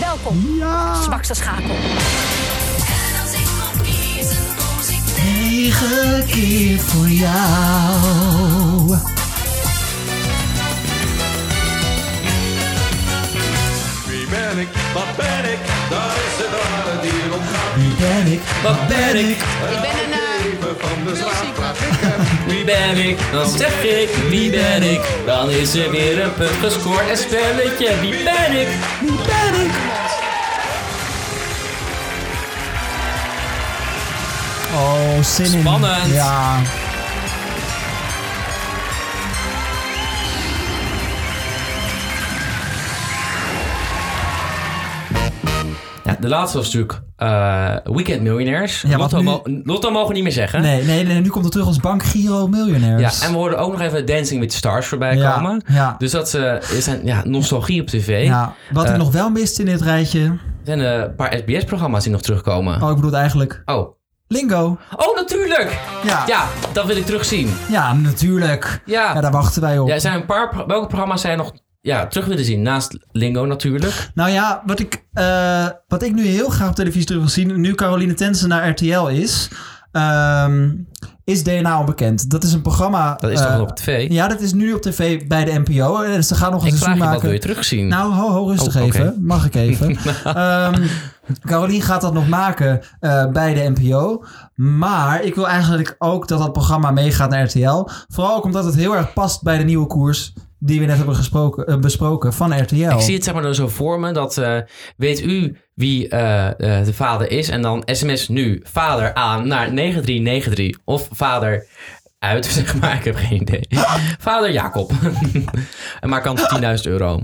L: Welkom, zwakste schakel. En als ik kon kiezen, koos ik
B: Negen keer voor jou.
M: Wie ben ik? Wat ben ik? Daar is het ware dier om gaat.
B: Wie ben ik? Wat ben ik?
M: Ik ben een eh, leven van de straat.
A: Wie ben ik? Dan zeg ik, wie ben ik? Dan is er weer een punt gescoord en spelletje. Wie ben ik?
B: Wie ben ik? Oh, zin in.
A: Spannend.
B: Ja.
A: Ja, de laatste was natuurlijk eh, Weekend Millionaires.
B: Ja, want
A: Lotto,
B: nu-
A: mo- Lotto mogen we niet meer zeggen.
B: Nee, nee, nee, nu komt het terug als Bank Giro Millionaires.
A: Ja, en we hoorden ook nog even Dancing with the Stars voorbij
B: Ja,
A: komen.
B: ja.
A: Dus dat ze- is een ja, nostalgie op tv.
B: Ja, wat ik
A: Eh,
B: nog wel mist in dit rijtje.
A: Er zijn eh, een paar SBS-programma's die nog terugkomen.
B: Oh, ik bedoel het eigenlijk.
A: Oh.
B: Lingo.
A: Oh, natuurlijk!
B: Ja.
A: ja, dat wil ik terugzien.
B: Ja, natuurlijk.
A: Ja.
B: daar wachten wij op.
A: Ja, er zijn een paar, pro- welke programma's zijn nog ja, terug willen zien? Naast Lingo natuurlijk.
B: Nou ja, wat ik, eh, wat ik nu heel graag op televisie terug wil zien, nu Caroline Tensen naar RTL is, ehm, is DNA Onbekend. Dat is een programma...
A: Dat is
B: eh,
A: toch wel op tv?
B: Ja, dat is nu op tv bij de NPO. Eh, Dus ze gaan nog een
A: Ik vraag
B: seizoen
A: je, wat
B: maken.
A: wil je terugzien?
B: Nou, ho, ho, rustig
A: Oh, oké.
B: even. Mag ik even. Ehm Carolien gaat dat nog maken eh, bij de NPO. Maar ik wil eigenlijk ook dat dat programma meegaat naar RTL. Vooral ook omdat het heel erg past bij de nieuwe koers die we net hebben gesproken, eh, besproken van RTL.
A: Ik zie het zeg maar zo voor me dat eh, weet u wie eh, eh, de vader is en dan sms nu vader aan naar 9393 of vader uit, zeg maar. Ik heb geen idee. Vader Jacob. en maak kans op 10.000 euro.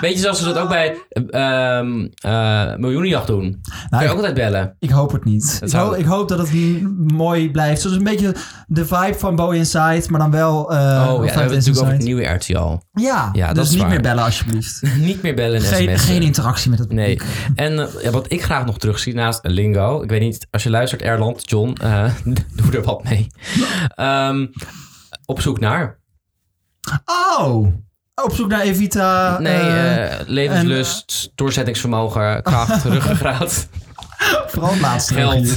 A: Weet je, zoals ze dat ook bij ehm eh, Miljoenenjacht
B: Nou,
A: doen. Kun je ook altijd bellen.
B: Ik hoop het niet. Ik,
A: zou-
B: hoop- ik hoop dat het m- mooi blijft. Zoals een beetje de vibe van Boy Inside, maar dan wel... eh,
A: oh ja,
B: van
A: we hebben het
B: Inside.
A: natuurlijk over het nieuwe RTL.
B: Ja,
A: Ja, dat
B: dus
A: is
B: niet
A: waar.
B: meer bellen alsjeblieft.
A: niet meer bellen en
B: Geen,
A: sms'en.
B: geen interactie met het
A: Nee. En eh, ja, wat ik graag nog terugzie naast Lingo. Ik weet niet, als je luistert, Erland, John, eh, doe er wat mee. Ehm, op zoek naar.
B: Oh! Op zoek naar Evita.
A: Nee,
B: eh,
A: eh, levenslust, doorzettingsvermogen, kracht, ruggengraat.
B: Vooral het laatste.
A: Geld.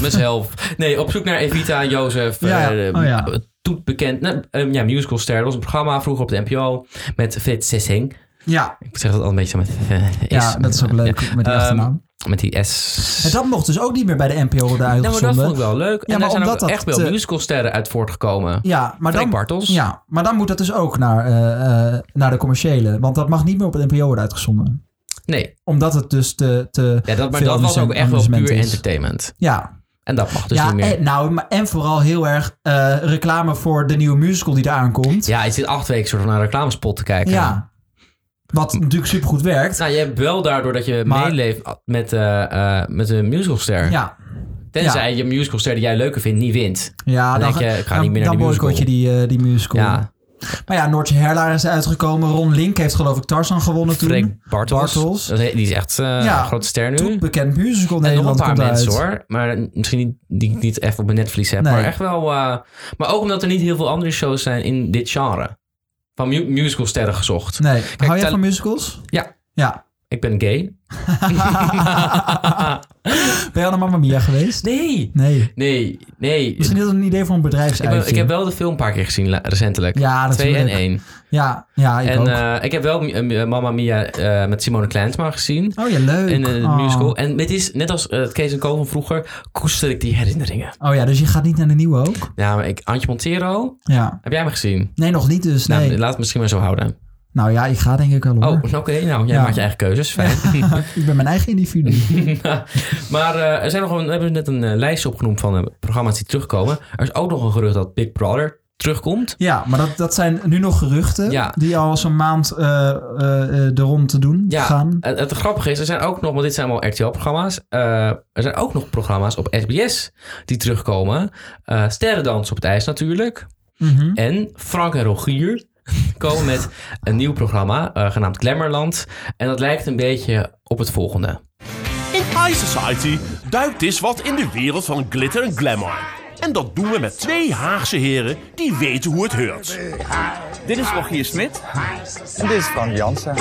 A: Mezelf. Nee, op zoek naar Evita, Jozef.
B: Ja,
A: eh,
B: oh ja.
A: Toet bekend. Nou, ehm, ja, musicalster. Dat was een programma vroeger op de NPO met Fit Sissing.
B: Ja.
A: Ik zeg dat al een beetje zo met eh, is.
B: Ja, dat is ook leuk met die
A: Ehm,
B: achternaam.
A: met die S.
B: En dat mocht dus ook niet meer bij de NPO
A: Nou,
B: worden
A: maar
B: uitgezonden.
A: dat vond ik wel leuk.
B: Ja,
A: en
B: maar
A: daar zijn ook
B: omdat dat eh,
A: echt wel
B: te-
A: musicalsterren uit voortgekomen.
B: Ja maar,
A: Freek
B: dan,
A: Bartels.
B: ja, maar dan moet dat dus ook naar, eh, eh, naar de commerciële. Want dat mag niet meer op de NPO worden uitgezonden.
A: Nee.
B: Omdat het dus te, te
A: Ja, dat, maar
B: veel
A: dat was ook echt wel
B: amusement
A: puur
B: is.
A: entertainment.
B: Ja.
A: En dat mag dus
B: ja,
A: niet meer.
B: en, nou, maar- en vooral heel erg eh, reclame voor de nieuwe musical die eraan komt.
A: Ja, je zit acht weken soort van naar een reclamespot te kijken.
B: Ja. Wat natuurlijk supergoed werkt.
A: Nou, je hebt wel daardoor dat je
B: Maar-
A: meeleeft met, eh, eh, met een musicalster.
B: Ja.
A: Tenzij je musicalster die jij leuker vindt niet wint.
B: Ja,
A: dan,
B: dan,
A: denk
B: ga-
A: je, ik ga
B: dan-
A: niet meer naar
B: dan
A: die musical.
B: boycott je die, eh, die musical.
A: Ja.
B: Maar ja, Noortje Herlaar is uitgekomen. Ron Link heeft geloof ik Tarzan gewonnen toen.
A: Freek Bartels.
B: Bartels.
A: Dat he- Die is echt eh,
B: Ja,
A: een grote ster nu.
B: Toen bekend musical
A: en nog een
B: Nederland
A: paar
B: komt
A: mensen
B: uit.
A: hoor. Maar misschien niet, die ik niet even op mijn netvlies heb.
B: Nee.
A: Maar echt wel. eh, maar ook omdat er niet heel veel andere shows zijn in dit genre. Van mu musicalsterren gezocht.
B: Nee, hou jij
A: tele-
B: van musicals?
A: Ja.
B: Ja.
A: Ik ben gay.
B: Ben jij naar Mamma Mia geweest?
A: Nee.
B: Nee.
A: Nee, nee.
B: Misschien is dat een idee voor een
A: ik, ben-
B: bedrijfsuitje.
A: ik heb wel de film een paar keer gezien la- recentelijk.
B: Ja,
A: Twee en
B: natuurlijk.
A: één.
B: Ja, ja ik
A: en
B: ook.
A: eh, ik heb wel eh, Mamma Mia eh, met Simone Kleinsma gezien.
B: Oh ja, leuk.
A: In een
B: Oh.
A: musical. En het is, net als eh, het Kees en Co van vroeger, koester ik die herinneringen.
B: oh ja, dus je gaat niet naar de nieuwe ook?
A: Ja, maar ik, Antje Montero,
B: Ja.
A: heb jij me gezien?
B: Nee, nog niet dus. Nee.
A: Nou,
B: Nou,
A: laat het misschien maar zo houden.
B: ja, ik ga denk ik wel hoor.
A: Oh, oké. nou, jij
B: Ja.
A: maakt je eigen keuzes. Fijn.
B: ik ben mijn eigen individu.
A: maar eh, er zijn nog een, we hebben net een eh, lijstje opgenoemd van eh, programma's die terugkomen. Er is ook nog een gerucht dat Big Brother terugkomt.
B: Ja, maar dat, dat zijn nu nog geruchten
A: Ja.
B: die al zo'n maand eh eh, eh, de rond te doen
A: Ja,
B: gaan.
A: Het, het grappige is, er zijn ook nog, want dit zijn allemaal RTL-programma's. eh, er zijn ook nog programma's op SBS die terugkomen. Eh Sterrendans op het ijs natuurlijk.
B: Mhm.
A: En Frank en Rogier komen met een nieuw programma eh, genaamd Glamourland. En dat lijkt een beetje op het volgende.
N: In High Society duikt eens wat in de wereld van glitter en glamour. En dat doen we met twee Haagse heren die weten hoe het heurt. Dit is Rogier Smit. En dit is Frank Jansen.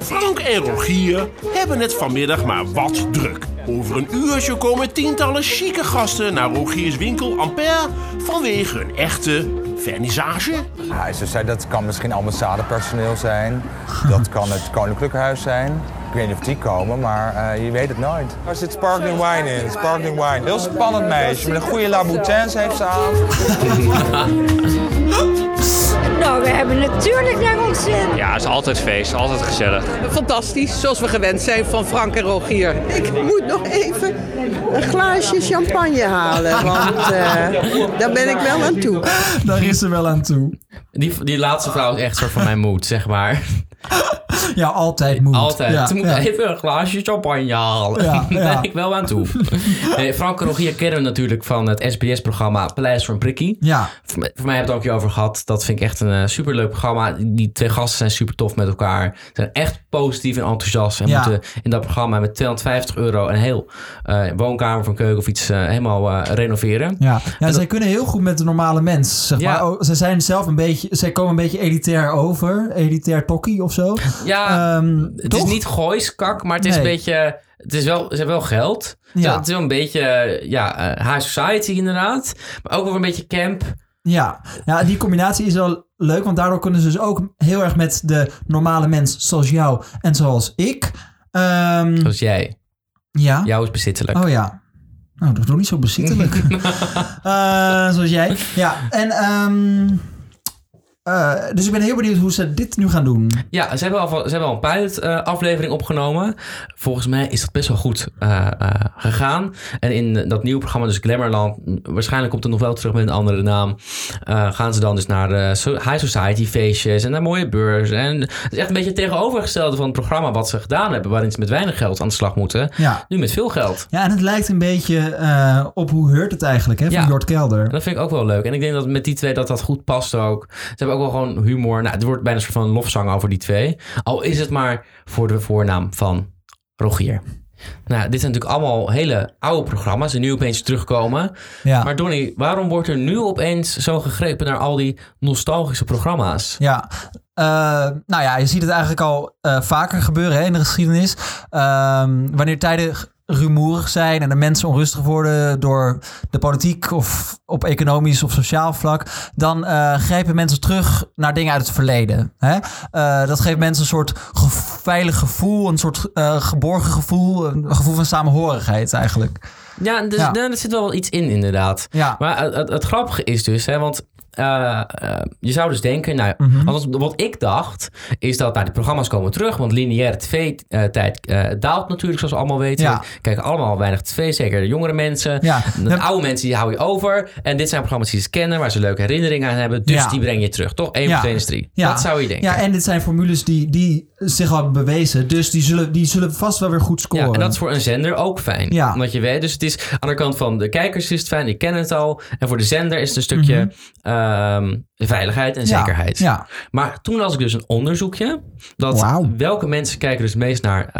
N: Frank en Rogier hebben het vanmiddag maar wat druk. Over een uurtje komen tientallen chique gasten naar Rogiers winkel Ampère vanwege een echte vernissage.
O: Hij ze zei dat kan misschien ambassadepersoneel zijn. Dat kan het Koninklijk Huis zijn. Ik weet niet of die komen, maar eh, je weet het nooit. Daar zit sparkling wine in, sparkling wine. Heel spannend meisje, met een goede laboutins heeft ze aan.
P: Nou, we hebben natuurlijk naar ons zin.
Q: Ja, het is altijd feest, altijd gezellig.
R: Fantastisch, zoals we gewend zijn van Frank en Rogier. Ik moet nog even een glaasje champagne halen, want eh, daar ben ik wel aan toe.
B: Daar is ze wel aan toe.
A: Die, die laatste vrouw is echt soort van mijn moed, zeg maar.
B: Ja, altijd moet.
A: Altijd.
B: Ja,
A: Ze moeten
B: ja.
A: even een glaasje champagne halen.
B: Ja,
A: Daar
B: ja.
A: ben ik wel aan toe. Eh, Frank en Rogier kennen we natuurlijk van het SBS-programma Paleis voor een Prikkie.
B: Ja.
A: Voor, mij- voor mij hebben we het ook over gehad. Dat vind ik echt een eh, superleuk programma. Die twee gasten zijn super tof met elkaar. Ze zijn echt positief en enthousiast. En
B: Ja.
A: moeten in dat programma met 250 euro een heel eh, woonkamer van keuken of iets eh, helemaal eh, renoveren.
B: Ja, ja zij kunnen heel goed met de normale mens, zeg maar. Oh, Ze zijn zelf een beetje, zij komen een beetje elitair over. Elitair tokkie of zo.
A: Ja,
B: Ehm,
A: het
B: toch?
A: is niet gooiskak, maar het is
B: Nee.
A: een beetje. Het is wel, ze hebben wel geld.
B: Ja.
A: Het is wel een beetje eh, ja, eh, high society inderdaad. Maar ook wel een beetje camp.
B: Ja. ja, die combinatie is wel leuk, want daardoor kunnen ze dus ook heel erg met de normale mens zoals jou en zoals ik. Ehm,
A: Zoals jij.
B: Ja.
A: Jou is bezittelijk.
B: oh ja. Nou, dat is nog niet zo bezittelijk. Eh, zoals jij. Ja, en ehm, eh, dus ik ben heel benieuwd hoe ze dit nu gaan doen.
A: Ja, ze hebben al, van- ze hebben al een pilot eh, aflevering opgenomen. Volgens mij is dat best wel goed eh, eh, gegaan. En in dat nieuwe programma, dus Glamourland, m, waarschijnlijk komt het nog wel terug met een andere naam. eh, gaan ze dan dus naar de so- high society feestjes en naar mooie beurzen. En het is echt een beetje het tegenovergestelde van het programma wat ze gedaan hebben, waarin ze met weinig geld aan de slag moeten.
B: Ja.
A: Nu met veel geld.
B: Ja, en het lijkt een beetje eh, op hoe heurt het eigenlijk, hè, van
A: Ja.
B: Jort Kelder.
A: En dat vind ik ook wel leuk. En ik denk dat met die twee dat dat goed past ook. Ze hebben ook wel gewoon humor. Nou, het wordt bijna een soort van lofzang over die twee. Al is het maar voor de voornaam van Rogier. Nou, dit zijn natuurlijk allemaal hele oude programma's die nu opeens terugkomen.
B: Ja.
A: Maar Donny, waarom wordt er nu opeens zo gegrepen naar al die nostalgische programma's?
B: Ja. Eh, nou ja, je ziet het eigenlijk al eh, vaker gebeuren hè, in de geschiedenis. Ehm, wanneer tijden g- rumoerig zijn en de mensen onrustig worden door de politiek of op economisch of sociaal vlak, dan eh, grijpen mensen terug naar dingen uit het verleden. Hè? Eh, dat geeft mensen een soort ge- veilig gevoel, een soort eh, geborgen gevoel, een gevoel van samenhorigheid eigenlijk.
A: Ja, dus,
B: Ja.
A: nou, er zit wel wat iets in, inderdaad. Maar het, het, het grappige is dus, hè, want eh, eh, je zou dus denken, nou,
B: Mhm.
A: althans, wat ik dacht, is dat nou, die programma's komen terug, want lineaire tv-tijd eh, daalt natuurlijk, zoals we allemaal weten.
B: Ja.
A: We kijken allemaal weinig tv, zeker de jongere mensen.
B: Ja.
A: De oude mensen, die hou je over. En dit zijn programma's die ze kennen, waar ze leuke herinneringen aan hebben, dus
B: Ja.
A: die breng je terug, toch? 1
B: Ja.
A: plus 1 is 3. Dat zou je denken.
B: Ja, en dit zijn formules die, die zich al bewezen. Dus die zullen, die zullen vast wel weer goed scoren.
A: Ja, en dat is voor een zender ook fijn.
B: Ja.
A: Omdat je weet, dus het is aan de kant van de kijkers is het fijn, die kennen het al. En voor de zender is het een stukje ehm, veiligheid en
B: Mhm. Ja,
A: zekerheid.
B: ja.
A: Maar toen las ik dus een onderzoekje dat
B: Wauw.
A: welke mensen kijken dus meest naar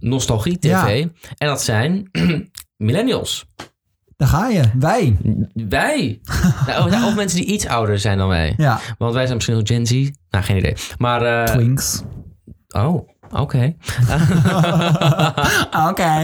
A: nostalgie tv.
B: Ja.
A: En dat zijn millennials.
B: Daar ga je. Wij.
A: Wij. nou, of- nou, of mensen die iets ouder zijn dan wij.
B: Ja.
A: Want wij zijn misschien wel Gen Z. Nou, geen idee. Maar, eh,
B: Twinks.
A: Oh, oké.
B: Oké.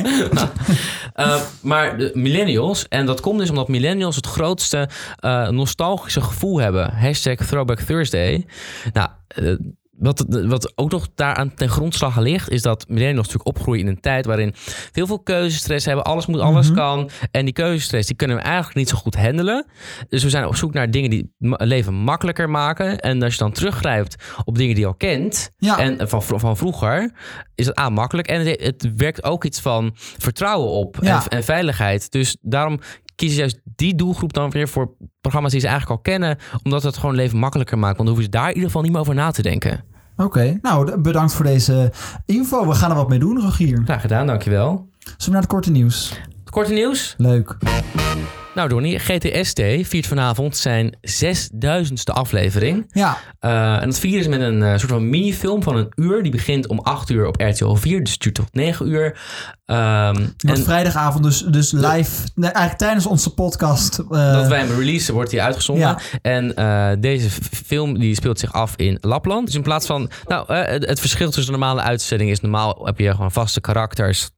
A: Eh, maar de millennials, en dat komt dus omdat millennials het grootste eh, nostalgische gevoel hebben. Hashtag Throwback Thursday. Nou, eh, wat, wat ook nog daaraan ten grondslag ligt, is dat millennials natuurlijk opgroeien in een tijd waarin veel veel keuzestress hebben. Alles moet, alles kan. En die keuzestress, die kunnen we eigenlijk niet zo goed handelen. Dus we zijn op zoek naar dingen die ma- het leven makkelijker maken. En als je dan teruggrijpt op dingen die je al kent,
B: Ja.
A: en en van, vro- van vroeger is het A makkelijk. En het, het werkt ook iets van vertrouwen op en,
B: Ja.
A: en veiligheid. Dus daarom kiezen juist die doelgroep dan weer voor programma's die ze eigenlijk al kennen. Omdat het gewoon leven makkelijker maakt. Want dan hoeven ze daar in ieder geval niet meer over na te denken.
B: Oké, nou d- bedankt voor deze info. We gaan er wat mee doen, Rogier.
A: Graag gedaan, dankjewel.
B: Zullen we naar het korte nieuws?
A: Korte nieuws.
B: Leuk.
A: Nou Donnie, GTST viert vanavond zijn 6000ste aflevering.
B: Ja.
A: Eh, en dat vieren is met een eh, soort van minifilm van een uur. Die begint om 8 uur op RTL 4, dus het duurt tot 9 uur. Ehm
B: Wordt vrijdagavond dus, dus live, nee, eigenlijk tijdens onze podcast. eh,
A: dat wij hem releasen, wordt hij uitgezonden.
B: Ja.
A: En eh, deze f- film die speelt zich af in Lapland. Dus in plaats van. Nou, eh, het het verschil tussen een normale uitzending is normaal heb je gewoon vaste karakters.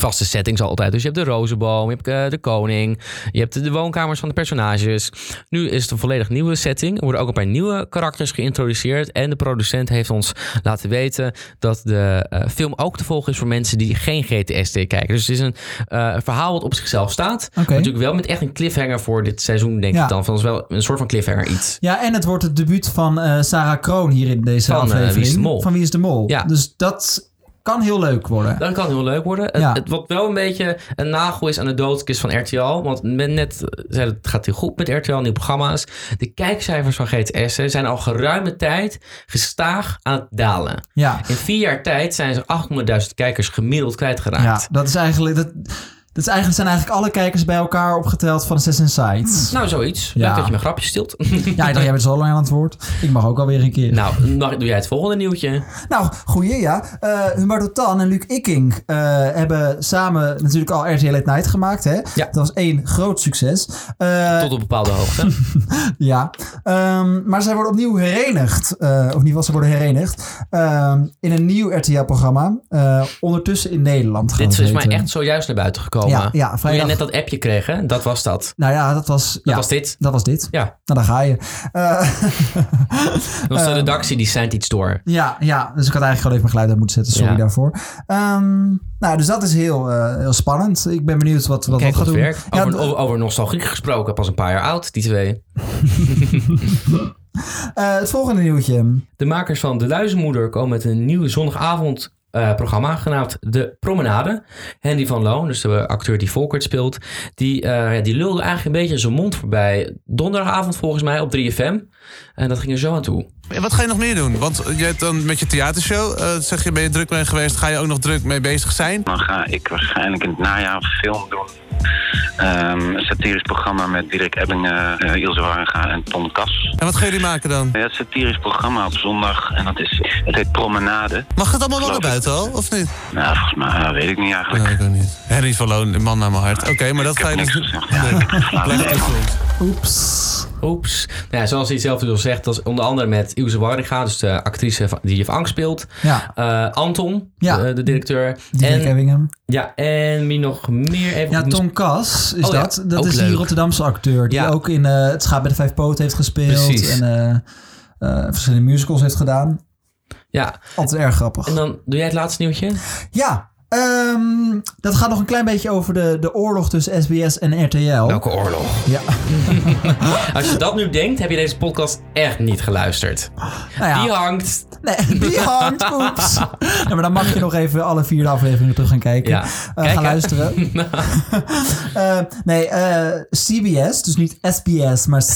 A: Vaste settings altijd. Dus je hebt de rozenboom, je hebt eh, de koning, je hebt de, de woonkamers van de personages. Nu is het een volledig nieuwe setting. Er worden ook een paar nieuwe karakters geïntroduceerd. En de producent heeft ons laten weten dat de eh, film ook te volgen is voor mensen die geen GTSD kijken. Dus het is een eh, verhaal wat op zichzelf staat.
B: Oké.
A: Maar Natuurlijk wel met echt een cliffhanger voor dit seizoen, denk
B: Ja.
A: ik dan. Van is wel een soort van cliffhanger iets.
B: Ja, en het wordt het debuut van eh, Sarah Kroon hier in deze
A: Van, eh, Wie
B: aflevering.
A: is de Mol.
B: Van Wie is de Mol.
A: Ja.
B: Dus dat kan heel leuk worden.
A: Dat kan heel leuk worden. Het-
B: Ja.
A: Het, wat wel een beetje een nagel is aan de doodskist van RTL. Want men net eh, zei dat het gaat heel goed met RTL, nieuwe programma's. De kijkcijfers van GTS zijn al geruime tijd gestaag aan het dalen.
B: Ja.
A: In vier jaar tijd zijn ze 800.000 kijkers gemiddeld kwijtgeraakt.
B: Ja, dat is eigenlijk. Dat, dat is eigenlijk, zijn eigenlijk alle kijkers bij elkaar opgeteld van Assassin's Sides.
A: Nou, zoiets. Leuk dat je mijn grapje stilt.
B: Ja, ik dacht, jij bent zo lang aan het woord. Ik mag ook alweer een keer.
A: Nou, mag, doe jij het volgende nieuwtje?
B: Nou, goeie ja. Eh Humberto Tan en Luc Ikking eh, hebben samen natuurlijk al RTL Late Night gemaakt. Hè? Dat was één groot succes. Eh,
A: Tot op bepaalde hoogte.
B: ja. Ehm, maar zij worden opnieuw herenigd. eh, of in ieder geval, ze worden herenigd. ehm, in een nieuw RTL-programma. eh, ondertussen in Nederland. gaan
A: Dit
B: we
A: is mij
B: heten.
A: echt zojuist naar buiten gekomen.
B: Ja, ja,
A: Toen
B: vrijdag.
A: jij net dat appje kreeg, hè? dat was dat.
B: Nou ja, dat was...
A: Dat
B: ja,
A: was dit.
B: Dat was dit.
A: Ja.
B: Nou, daar ga je. Eh,
A: Dat was eh, de
B: Ehm,
A: redactie, die sent iets door.
B: ja, ja, dus ik had eigenlijk gewoon even mijn geluid uit moeten zetten. Sorry
A: Ja.
B: daarvoor. Ehm, nou, dus dat is heel, eh, heel spannend. Ik ben benieuwd wat wat,
A: Kijk
B: wat
A: wat
B: gaat doen.
A: werkt.
B: Ja,
A: Over, over, over nostalgie gesproken, pas een paar jaar oud, die twee.
B: eh, het volgende nieuwtje.
A: De makers van De Luizenmoeder komen met een nieuw zondagavond eh, programma genaamd De Promenade. Henry van Loon, dus de acteur die Volkert speelt, die, eh, die lulde eigenlijk een beetje zijn mond voorbij. Donderdagavond volgens mij op 3FM. En dat ging er zo aan toe.
S: En wat ga je nog meer doen? Want je hebt dan met je theatershow, eh, zeg je, ben je druk mee geweest, ga je ook nog druk mee bezig zijn?
T: Dan ga ik waarschijnlijk in het najaar een film doen. Ehm, een satirisch programma met Dirk Ebbingen, eh, Ilse Warga en Tom Kas.
S: En wat gaan jullie maken dan?
T: Ja, het satirisch programma op zondag en dat is, het heet Promenade.
S: Mag het allemaal wel
T: Geloof
S: naar
T: ik.
S: buiten al, of niet?
T: Nou, volgens mij eh, weet ik niet eigenlijk.
S: Nee, ik ook niet. Henry van Loon, de man naar mijn hart. Oké, maar dat ga je dus niet... Blijf het gezond.
B: Oeps.
A: Oeps. Nou ja, zoals hij zelf dus al zegt, dat is onder andere met Ilse Warringa, dus de actrice van- die Juf Angst speelt.
B: Ja.
A: Eh, Anton, de, de directeur.
B: Dirk
A: en,
B: Ebbingen.
A: ja, en wie nog meer? Even
B: Ja,
A: goed-
B: Tom Kas is
A: Oh ja,
B: dat. dat
A: ook
B: is die
A: leuk.
B: Rotterdamse acteur. Die
A: Ja.
B: ook in eh, Het Schaap bij de Vijf Poot heeft gespeeld.
A: Precies.
B: En eh, eh, verschillende musicals heeft gedaan.
A: Ja.
B: Altijd erg grappig.
A: En dan doe jij het laatste nieuwtje?
B: Ja, ehm, dat gaat nog een klein beetje over de, de oorlog tussen SBS en RTL.
A: Welke oorlog?
B: Ja.
A: Als je dat nu denkt, heb je deze podcast echt niet geluisterd.
B: Ah. Nou
A: Die hangt.
B: Nee, die hangt. Oeps. Nou, maar dan mag je nog even alle vier afleveringen terug gaan kijken.
A: Ja.
B: Eh,
A: Kijk,
B: gaan
A: hè.
B: luisteren. Eh, nee, eh, CBS, dus niet SBS, maar CBS,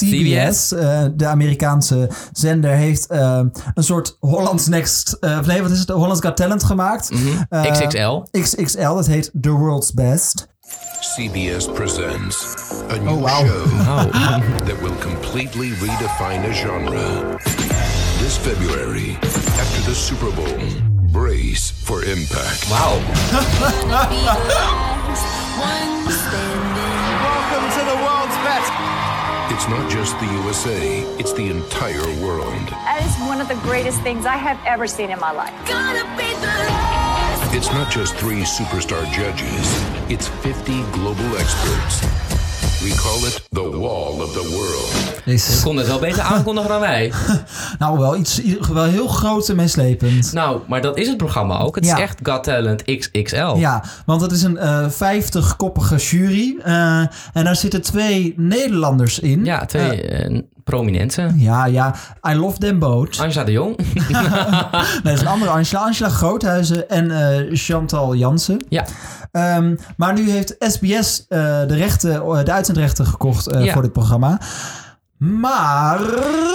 A: CBS.
B: eh, de Amerikaanse zender, heeft eh, een soort Holland's Next, eh, of nee, wat is het? Holland's Got Talent gemaakt.
A: Mhm.
B: Eh,
U: XXL.
B: XXL, dat heet The World's Best.
U: CBS presents a new
B: Oh, wow.
U: show
B: Wow.
U: that will completely redefine a genre. This February, after the Super Bowl, brace for impact. Wow.
M: Welcome to the world's best.
U: It's not just the USA, it's the entire world.
V: That is one of the greatest things I have ever seen in my life.
U: It's not just three superstar judges, it's 50 global experts. We call it the Wall of the World.
A: Ze konden het wel beter aankondigen dan wij.
B: Nou, wel iets wel heel groot en meeslepend.
A: Nou, maar dat is het programma ook. Het
B: Ja.
A: is echt God Talent XXL.
B: Ja, want dat is een eh 50-koppige jury. eh, en daar zitten twee Nederlanders in.
A: Ja, twee eh, prominenten.
B: ja, ja. I love them both.
A: Angela de Jong.
B: nee, dat is een andere Angela. Angela Groothuizen en eh, Chantal Jansen.
A: Ja.
B: Ehm, maar nu heeft SBS eh, de, rechten, eh, de uitzendrechten gekocht eh,
A: Ja.
B: voor dit programma. Maar...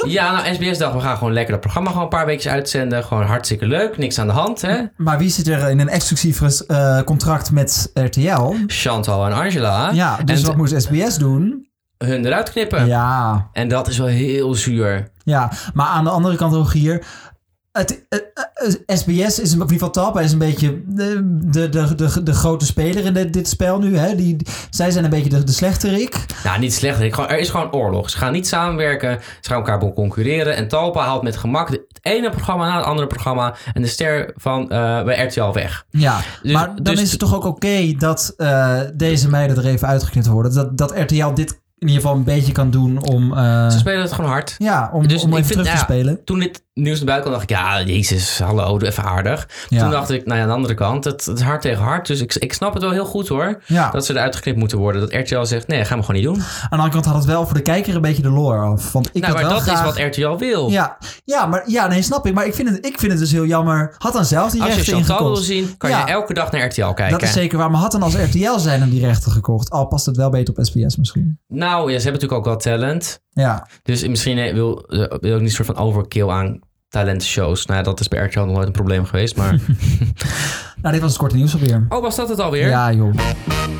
A: Ja, nou, SBS dacht, we gaan gewoon lekker dat programma gewoon een paar weken uitzenden. Gewoon hartstikke leuk, niks aan de hand, hè?
B: Maar wie zit er in een exclusief res- eh, contract met RTL?
A: Chantal en Angela.
B: Ja, dus
A: en Eh.
B: wat moest SBS doen?
A: hun eruit knippen.
B: Ja.
A: En dat is wel heel zuur.
B: Ja, maar aan de andere kant, Rogier. Het, eh, eh, SBS is, een- of in ieder geval Talpa is een beetje de, de, de, de, de grote speler in dit, dit spel nu. Hè? Die, zij zijn een beetje de, de slechterik.
A: Nou, niet slecht. Ik- gewoon- Er is gewoon oorlog. Ze gaan niet samenwerken. Ze gaan elkaar concurreren. En Talpa haalt met gemak het ene programma na het andere programma. En de ster van eh, bij RTL weg.
B: Ja,
A: Dus-
B: maar dan
A: dus-
B: is het toch ook oké dat eh, deze meiden er even uitgeknipt worden. Dat, dat RTL dit in ieder geval een beetje kan doen om... eh,
A: Ze spelen het gewoon hard.
B: ja, om, om even terug te
A: Dus ja,
B: spelen.
A: Toen dit nieuws naar buiten kwam, dacht ik, ja, jezus, hallo, doe even aardig.
B: Ja.
A: Toen dacht ik, nou ja, aan de andere kant, het, het is hard tegen hard. Dus ik, ik snap het wel heel goed hoor,
B: Ja.
A: dat ze eruit geknipt moeten worden. Dat RTL zegt, nee, gaan we gewoon niet doen.
B: Aan de andere kant had het wel voor de kijker een beetje de lore af. Want ik
A: nou,
B: had
A: maar
B: wel
A: dat
B: graag...
A: is wat RTL wil.
B: Ja, ja, maar, ja, nee, snap ik. Maar ik vind het, ik vind het dus heel jammer. Had dan zelf die
A: Als je
B: rechten
A: Chantal wil
B: ingekocht.
A: zien, kan
B: Ja.
A: je elke dag naar RTL kijken.
B: Dat is zeker waar. Maar had dan als RTL zijn hem die rechten gekocht. Al past het wel beter op SBS misschien.
A: Nou, ja, ze hebben natuurlijk ook wel talent.
B: Ja.
A: Dus misschien eh, wil, eh, wil ik niet een soort van overkill aan talentshows. Nou ja, dat is bij RTL nog nooit een probleem geweest, maar...
B: Nou, dit was het korte nieuws alweer.
A: Oh, was dat het alweer?
B: Ja, joh.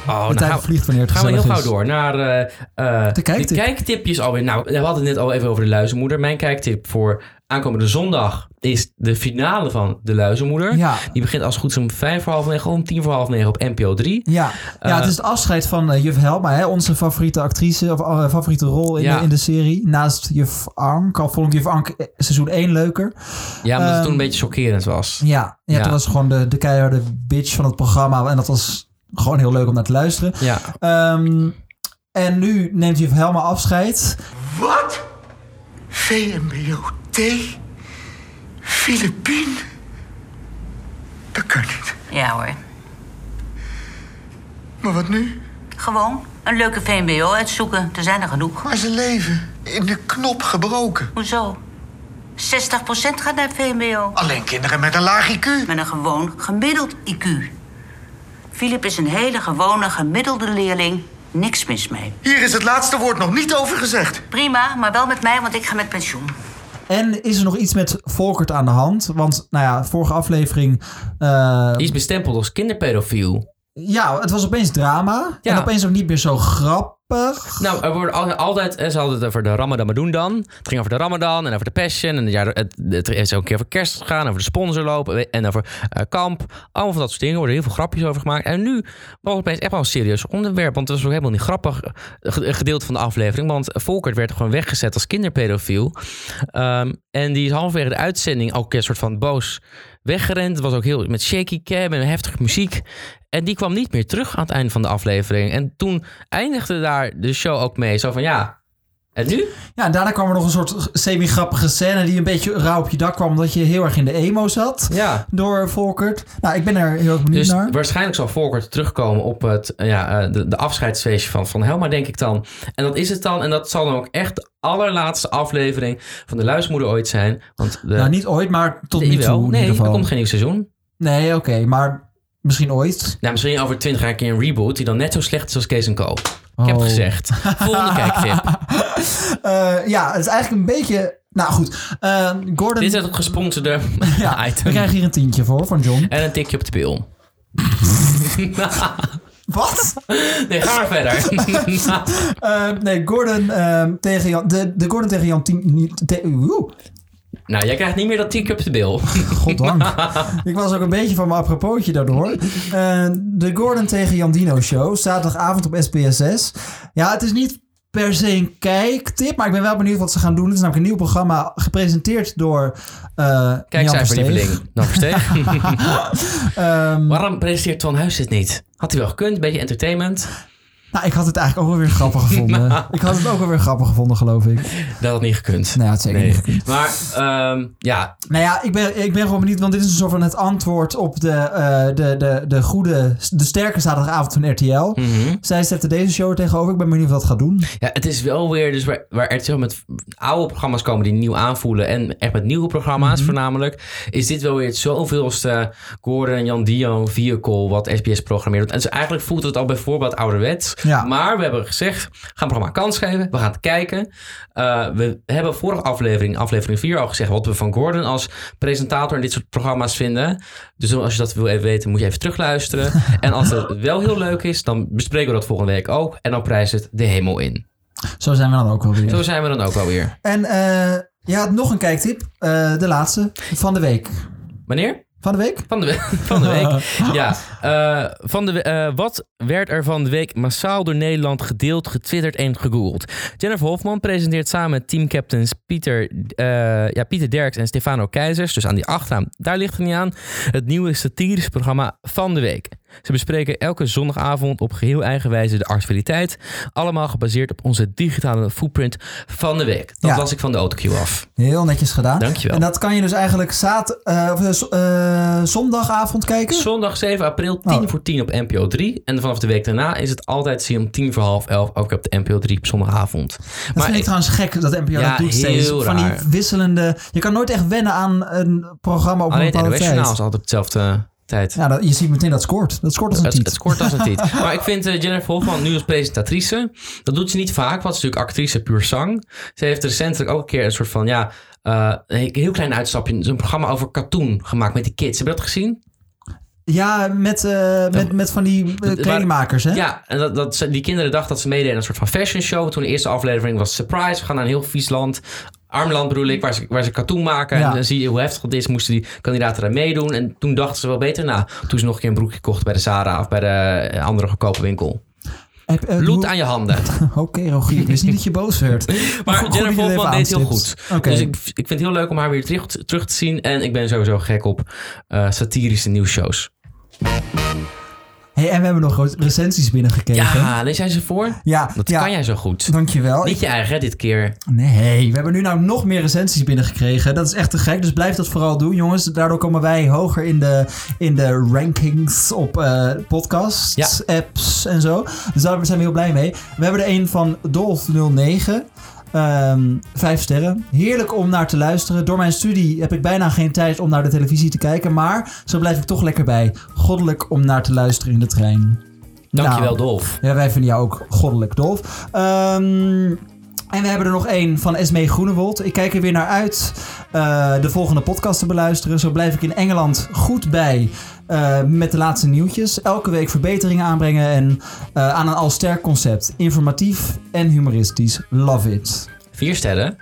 A: Oh,
B: de tijd
A: gaan we-
B: vliegt wanneer het
A: Gaan we heel
B: gezellig
A: gauw
B: is.
A: door naar eh, eh, de,
B: kijktip.
A: kijktipjes alweer. Nou, we hadden het net al even over de luizenmoeder. Mijn kijktip voor aankomende zondag is de finale van de luizenmoeder.
B: Ja.
A: Die begint als het goed is om vijf voor half negen, om tien voor half negen op NPO 3.
B: Ja, ja het is het afscheid van eh, juf Helma, hè, onze favoriete actrice, of eh, favoriete rol in,
A: Ja.
B: de, in de serie. Naast juf Arnk, al vond ik juf Arnk eh, seizoen 1 leuker.
A: Ja, omdat het
B: Ehm,
A: toen een beetje chockerend was.
B: Ja, ja,
A: Ja.
B: toen was ze gewoon de, de keiharde bitch van het programma. En dat was gewoon heel leuk om naar te luisteren.
A: Ja.
B: Ehm, en nu neemt juf Helma afscheid.
C: Wat? VMBO-T? Filipien? Dat kan niet.
D: Ja hoor.
C: Maar wat nu?
D: Gewoon een leuke VMBO uitzoeken. Er zijn er genoeg.
C: Maar ze leven in de knop gebroken.
D: Hoezo? 60% gaat naar VMBO.
C: Alleen kinderen met een laag IQ.
D: Met een gewoon gemiddeld IQ. Filip is een hele gewone gemiddelde leerling. Niks mis mee.
C: Hier is het laatste woord nog niet over gezegd.
D: Prima, maar wel met mij, want ik ga met pensioen.
B: En is er nog iets met Volkert aan de hand? Want, nou ja, vorige aflevering... eh,
A: Die is bestempeld als kinderpedofiel.
B: ja, het was opeens drama. En opeens ook niet meer zo grappig.
A: Nou, er worden al- altijd, eh, ze hadden het over de Ramadan doen dan. Het ging over de Ramadan en over de Passion. En ja, het, het is ook een keer over kerst gegaan, over de sponsorloop en over eh, kamp. Allemaal van dat soort dingen worden heel veel grapjes over gemaakt. En nu was het opeens echt wel een serieus onderwerp. Want het was ook helemaal niet grappig eh, ge- een gedeelte van de aflevering. Want Volkert werd gewoon weggezet als kinderpedofiel. Ehm, en die is halverwege de uitzending ook een soort van boos weggerend. Het was ook heel met shaky cam en heftige muziek. En die kwam niet meer terug aan het einde van de aflevering. En toen eindigde daar de show ook mee. Zo van ja, en nu?
B: Ja, en daarna kwam er nog een soort semi-grappige scène die een beetje rauw op je dak kwam, omdat je heel erg in de emo zat
A: Ja.
B: door Volkert. Nou, ik ben er heel erg benieuwd
A: Dus
B: naar.
A: waarschijnlijk zal Volkert terugkomen op het, eh, ja, eh, de, de afscheidsfeestje van, van Helma, denk ik dan. En dat is het dan. En dat zal dan ook echt de allerlaatste aflevering van de Luismoeder ooit zijn. Want de,
B: Nou, niet ooit, maar tot
A: Nee,
B: nu toe
A: wel.
B: in
A: Nee,
B: ieder geval.
A: er komt geen nieuw seizoen.
B: Nee, oké, maar misschien ooit.
A: Nou, misschien over twintig jaar een keer een reboot die dan net zo slecht is als Kees Co. Ik heb het
B: Oh.
A: gezegd. Volgende kijktip.
B: Eh, ja, het is eigenlijk een beetje... Nou goed, eh, Gordon...
A: Dit is het gesponsorde
B: we
A: item.
B: krijgen hier een tientje voor van John.
A: En een tikje op de pil.
B: Wat?
A: Nee, ga maar verder.
B: Eh, nee, Gordon, eh, tegen Jan, de, de Gordon tegen Jan... Tien, te, woe.
A: nou, jij krijgt niet meer dat tikje op de pil.
B: Goddank. Ik was ook een beetje van mijn apropootje daardoor. Eh, de Gordon tegen Jandino show, zaterdagavond op SPSS. Ja, het is niet per se een kijktip, maar ik ben wel benieuwd wat ze gaan doen. Het is namelijk een nieuw programma gepresenteerd door eh
A: Kijk,
B: Jan
A: cijferlieveling.
B: Versteeg. Ehm,
A: Dan versteeg.
B: Hmm.
A: Waarom presenteert Ton Huis dit niet? Had hij wel gekund, een beetje entertainment.
B: Nou, ik had het eigenlijk ook wel weer grappig gevonden. ik had het ook wel weer grappig gevonden, geloof ik.
A: Dat had niet gekund.
B: Nou, het zeker niet gekund.
A: Maar, ehm, ja.
B: Nou ja, ik ben, ik ben gewoon benieuwd, want dit is een soort van het antwoord op de, eh, de, de, de goede, de sterke zaterdagavond van RTL.
A: Mhm.
B: Zij zetten deze show er tegenover. Ik ben benieuwd wat het gaat doen.
A: ja, het is wel weer dus waar, waar RTL met oude programma's komen die nieuw aanvoelen. En echt met nieuwe programma's voornamelijk. Is dit wel weer het zoveelste Gordon en Jan Dio vehicle wat SBS programmeert. En dus eigenlijk voelt het al bijvoorbeeld ouderwets.
B: Ja.
A: Maar we hebben gezegd, we gaan het programma een kans geven. We gaan het kijken. Eh, we hebben vorige aflevering, aflevering 4 al gezegd... wat we van Gordon als presentator in dit soort programma's vinden. Dus als je dat wil even weten, moet je even terugluisteren. en als het wel heel leuk is, dan bespreken we dat volgende week ook. En dan prijst het de hemel in.
B: Zo zijn we dan ook wel weer.
A: Zo zijn we dan ook alweer.
B: En eh, je had nog een kijktip. Eh, de laatste van de week.
A: Wanneer?
B: Van de week?
A: Van de week. Van de week. Ja. eh, van de, we- eh, wat werd er van de week massaal door Nederland gedeeld, getwitterd en gegoogeld? Jennifer Hofman presenteert samen met teamcaptains Pieter, eh, ja, Pieter Derks en Stefano Keizers. Dus aan die achternaam, daar ligt het niet aan. Het nieuwe satirische programma van de week. Ze bespreken elke zondagavond op geheel eigen wijze de actualiteit. Allemaal gebaseerd op onze digitale footprint van de week. Dat
B: Ja.
A: las ik van de autocue af.
B: Heel netjes gedaan.
A: Dankjewel.
B: En dat kan je dus eigenlijk zaad, eh, of, eh, z- eh, zondagavond kijken?
A: Zondag 7 april, 10
B: Oh.
A: voor 10 op NPO 3. En vanaf de week daarna is het altijd te zien om 10 voor half 11, ook op de NPO 3 op zondagavond.
B: Dat vind ik trouwens gek dat NPO
A: Ja,
B: dat doet steeds.
A: heel
B: Van
A: raar.
B: die wisselende... Je kan nooit echt wennen aan een programma op een
A: Alleen het
B: bepaalde
A: NOS Journaal
B: tijd.
A: is altijd op dezelfde eh, tijd.
B: Ja, dat, je ziet meteen dat het scoort. Dat scoort als een
A: Het,
B: tiet.
A: het scoort als een tiet. Maar ik vind eh, Jennifer Hofman nu als presentatrice. Dat doet ze niet vaak, want ze is natuurlijk actrice puur zang. Ze heeft recentelijk ook een keer een soort van, ja, eh, een heel klein uitstapje. Zo'n programma over cartoon gemaakt met die kids. Heb je dat gezien?
B: Ja, met, eh, met, met van die eh, kledingmakers, hè?
A: Ja, en dat, dat, ze- die kinderen dachten dat ze meededen aan een soort van fashion show. Toen de eerste aflevering was surprise. We gaan naar een heel vies land. Arm land bedoel ik, waar ze, waar ze cartoon maken.
B: Ja.
A: En dan zie je hoe heftig dat is. Moesten die kandidaten daar meedoen. En toen dachten ze wel beter na. Toen ze nog een keer een broekje kochten bij de Zara of bij de eh, andere goedkope winkel.
B: Heb- eh,
A: Bloed
B: hoe-
A: aan je handen.
B: Oké, Rogier. Ik wist niet dat je boos werd.
A: Maar
B: goed dat je
A: Jennifer
B: dat
A: Hofman
B: even
A: deed het heel goed.
B: aanstipt. Oké.
A: Dus ik, ik vind het heel leuk om haar weer terug, terug te zien. En ik ben sowieso gek op eh, satirische nieuwsshows.
B: Hey, en we hebben nog recensies binnengekregen.
A: Ja, lees jij ze voor?
B: Ja,
A: Dat
B: ja.
A: kan jij zo goed.
B: Dankjewel.
A: Niet je eigen hè, dit keer.
B: Nee, we hebben nu nou nog meer recensies binnengekregen. Dat is echt te gek, dus blijf dat vooral doen, jongens. Daardoor komen wij hoger in de, in de rankings op eh, podcasts, apps en zo. Dus daar zijn we heel blij mee. We hebben er een van Dolf09. Ehm, vijf sterren. Heerlijk om naar te luisteren. Door mijn studie heb ik bijna geen tijd om naar de televisie te kijken. Maar zo blijf ik toch lekker bij. Goddelijk om naar te luisteren in de trein.
A: Dankjewel,
B: Nou,
A: Dolf.
B: ja, wij vinden jou ook goddelijk dolf. Ehm, en we hebben er nog één van Esmee Groenewold. Ik kijk er weer naar uit eh, de volgende podcast te beluisteren. Zo blijf ik in Engeland goed bij eh, met de laatste nieuwtjes. Elke week verbeteringen aanbrengen en eh, aan een al sterk concept. Informatief en humoristisch. Love it.
A: Vier sterren.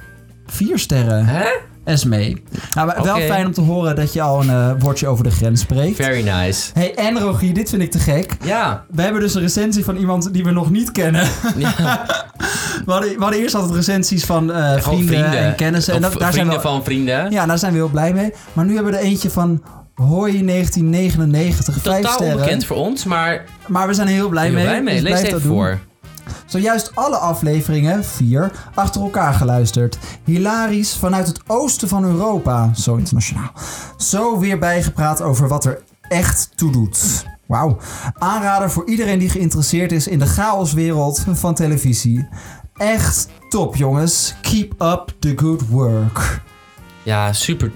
B: Vier sterren.
A: Hè?
B: Esmee. Nou, maar wel
A: Oké.
B: fijn om te horen dat je al een eh, woordje over de grens spreekt.
A: Very nice.
B: Hey, en Rogier, dit vind ik te gek.
A: Ja.
B: We hebben dus een recensie van iemand die we nog niet kennen. we, hadden, we hadden eerst altijd recensies van eh,
A: Gewoon
B: vrienden, en kennissen. En
A: Oh, Of
B: dat, daar zijn
A: vrienden
B: we,
A: van vrienden.
B: Ja, daar zijn we heel blij mee. Maar nu hebben we er eentje van Hoi 1999, vijf
A: Totaal
B: sterren.
A: onbekend voor ons, maar...
B: Maar we zijn er heel blij
A: Heel
B: mee.
A: blij mee.
B: dus
A: Lees
B: blijf
A: even
B: dat doen.
A: voor.
B: Zojuist alle afleveringen, vier, achter elkaar geluisterd. Hilarisch vanuit het oosten van Europa. Zo internationaal. Zo weer bijgepraat over wat er echt toe doet. Wauw. Aanrader voor iedereen die geïnteresseerd is in de chaoswereld van televisie. Echt top, jongens. Keep up the good work.
A: Ja, super.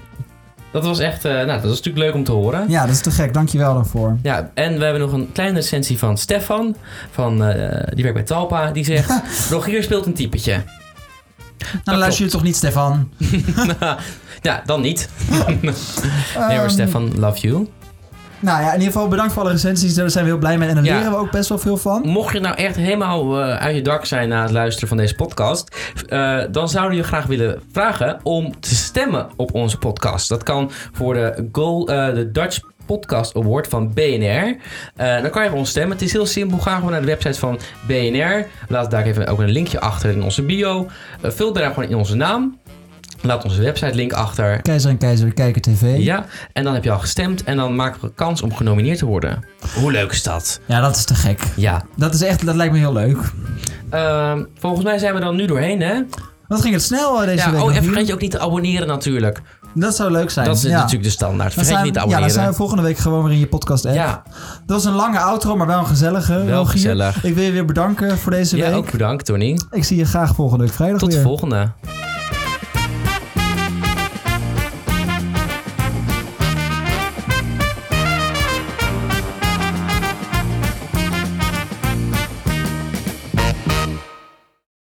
A: Dat was echt... eh, nou, dat was natuurlijk leuk om te horen.
B: Ja, dat is te gek. Dankjewel daarvoor.
A: Ja, en we hebben nog een kleine recensie van Stefan. Van, eh, die werkt bij Talpa. Die zegt... Rogier speelt een typetje.
B: Nou, dan luister je toch niet, Stefan?
A: ja, dan niet. nee hoor,
B: Ehm.
A: Stefan, love you.
B: Nou ja, in ieder geval bedankt voor alle recensies. Daar zijn we heel blij mee. En daar
A: Ja.
B: leren we ook best wel veel van.
A: Mocht je nou echt helemaal eh, uit je dak zijn na het luisteren van deze podcast, eh, dan zouden we je graag willen vragen om te stemmen op onze podcast. Dat kan voor de, Goal, eh, de Dutch Podcast Award van BNR. Eh, dan kan je voor ons stemmen. Het is heel simpel. Ga gewoon naar de website van BNR. Laat daar even ook een linkje achter in onze bio. Eh, vul daar gewoon in onze naam. Laat onze website link achter.
B: Keizer en Keizer Kijken TV.
A: Ja, en dan heb je al gestemd en dan maken we kans om genomineerd te worden. Hoe leuk is dat?
B: Ja, dat is te gek.
A: Ja.
B: Dat is echt, dat lijkt me heel leuk.
A: Ehm, volgens mij zijn we dan nu doorheen, hè?
B: Wat ging het snel eh, deze
A: ja,
B: week?
A: oh,
B: nog
A: en
B: hier?
A: vergeet je ook niet te abonneren natuurlijk.
B: Dat zou leuk zijn.
A: Dat is
B: ja.
A: natuurlijk de standaard.
B: Dan
A: Vergeet
B: zijn-
A: niet te
B: Ja,
A: abonneren.
B: dan zijn we volgende week gewoon weer in je podcast app.
A: Ja.
B: Dat was een lange outro, maar wel een gezellige.
A: Wel
B: Rogier.
A: gezellig.
B: Ik wil je weer bedanken voor deze
A: ja,
B: week.
A: ook bedankt, Tony.
B: Ik zie je graag volgende week vrijdag
A: Tot
B: weer.
A: de volgende.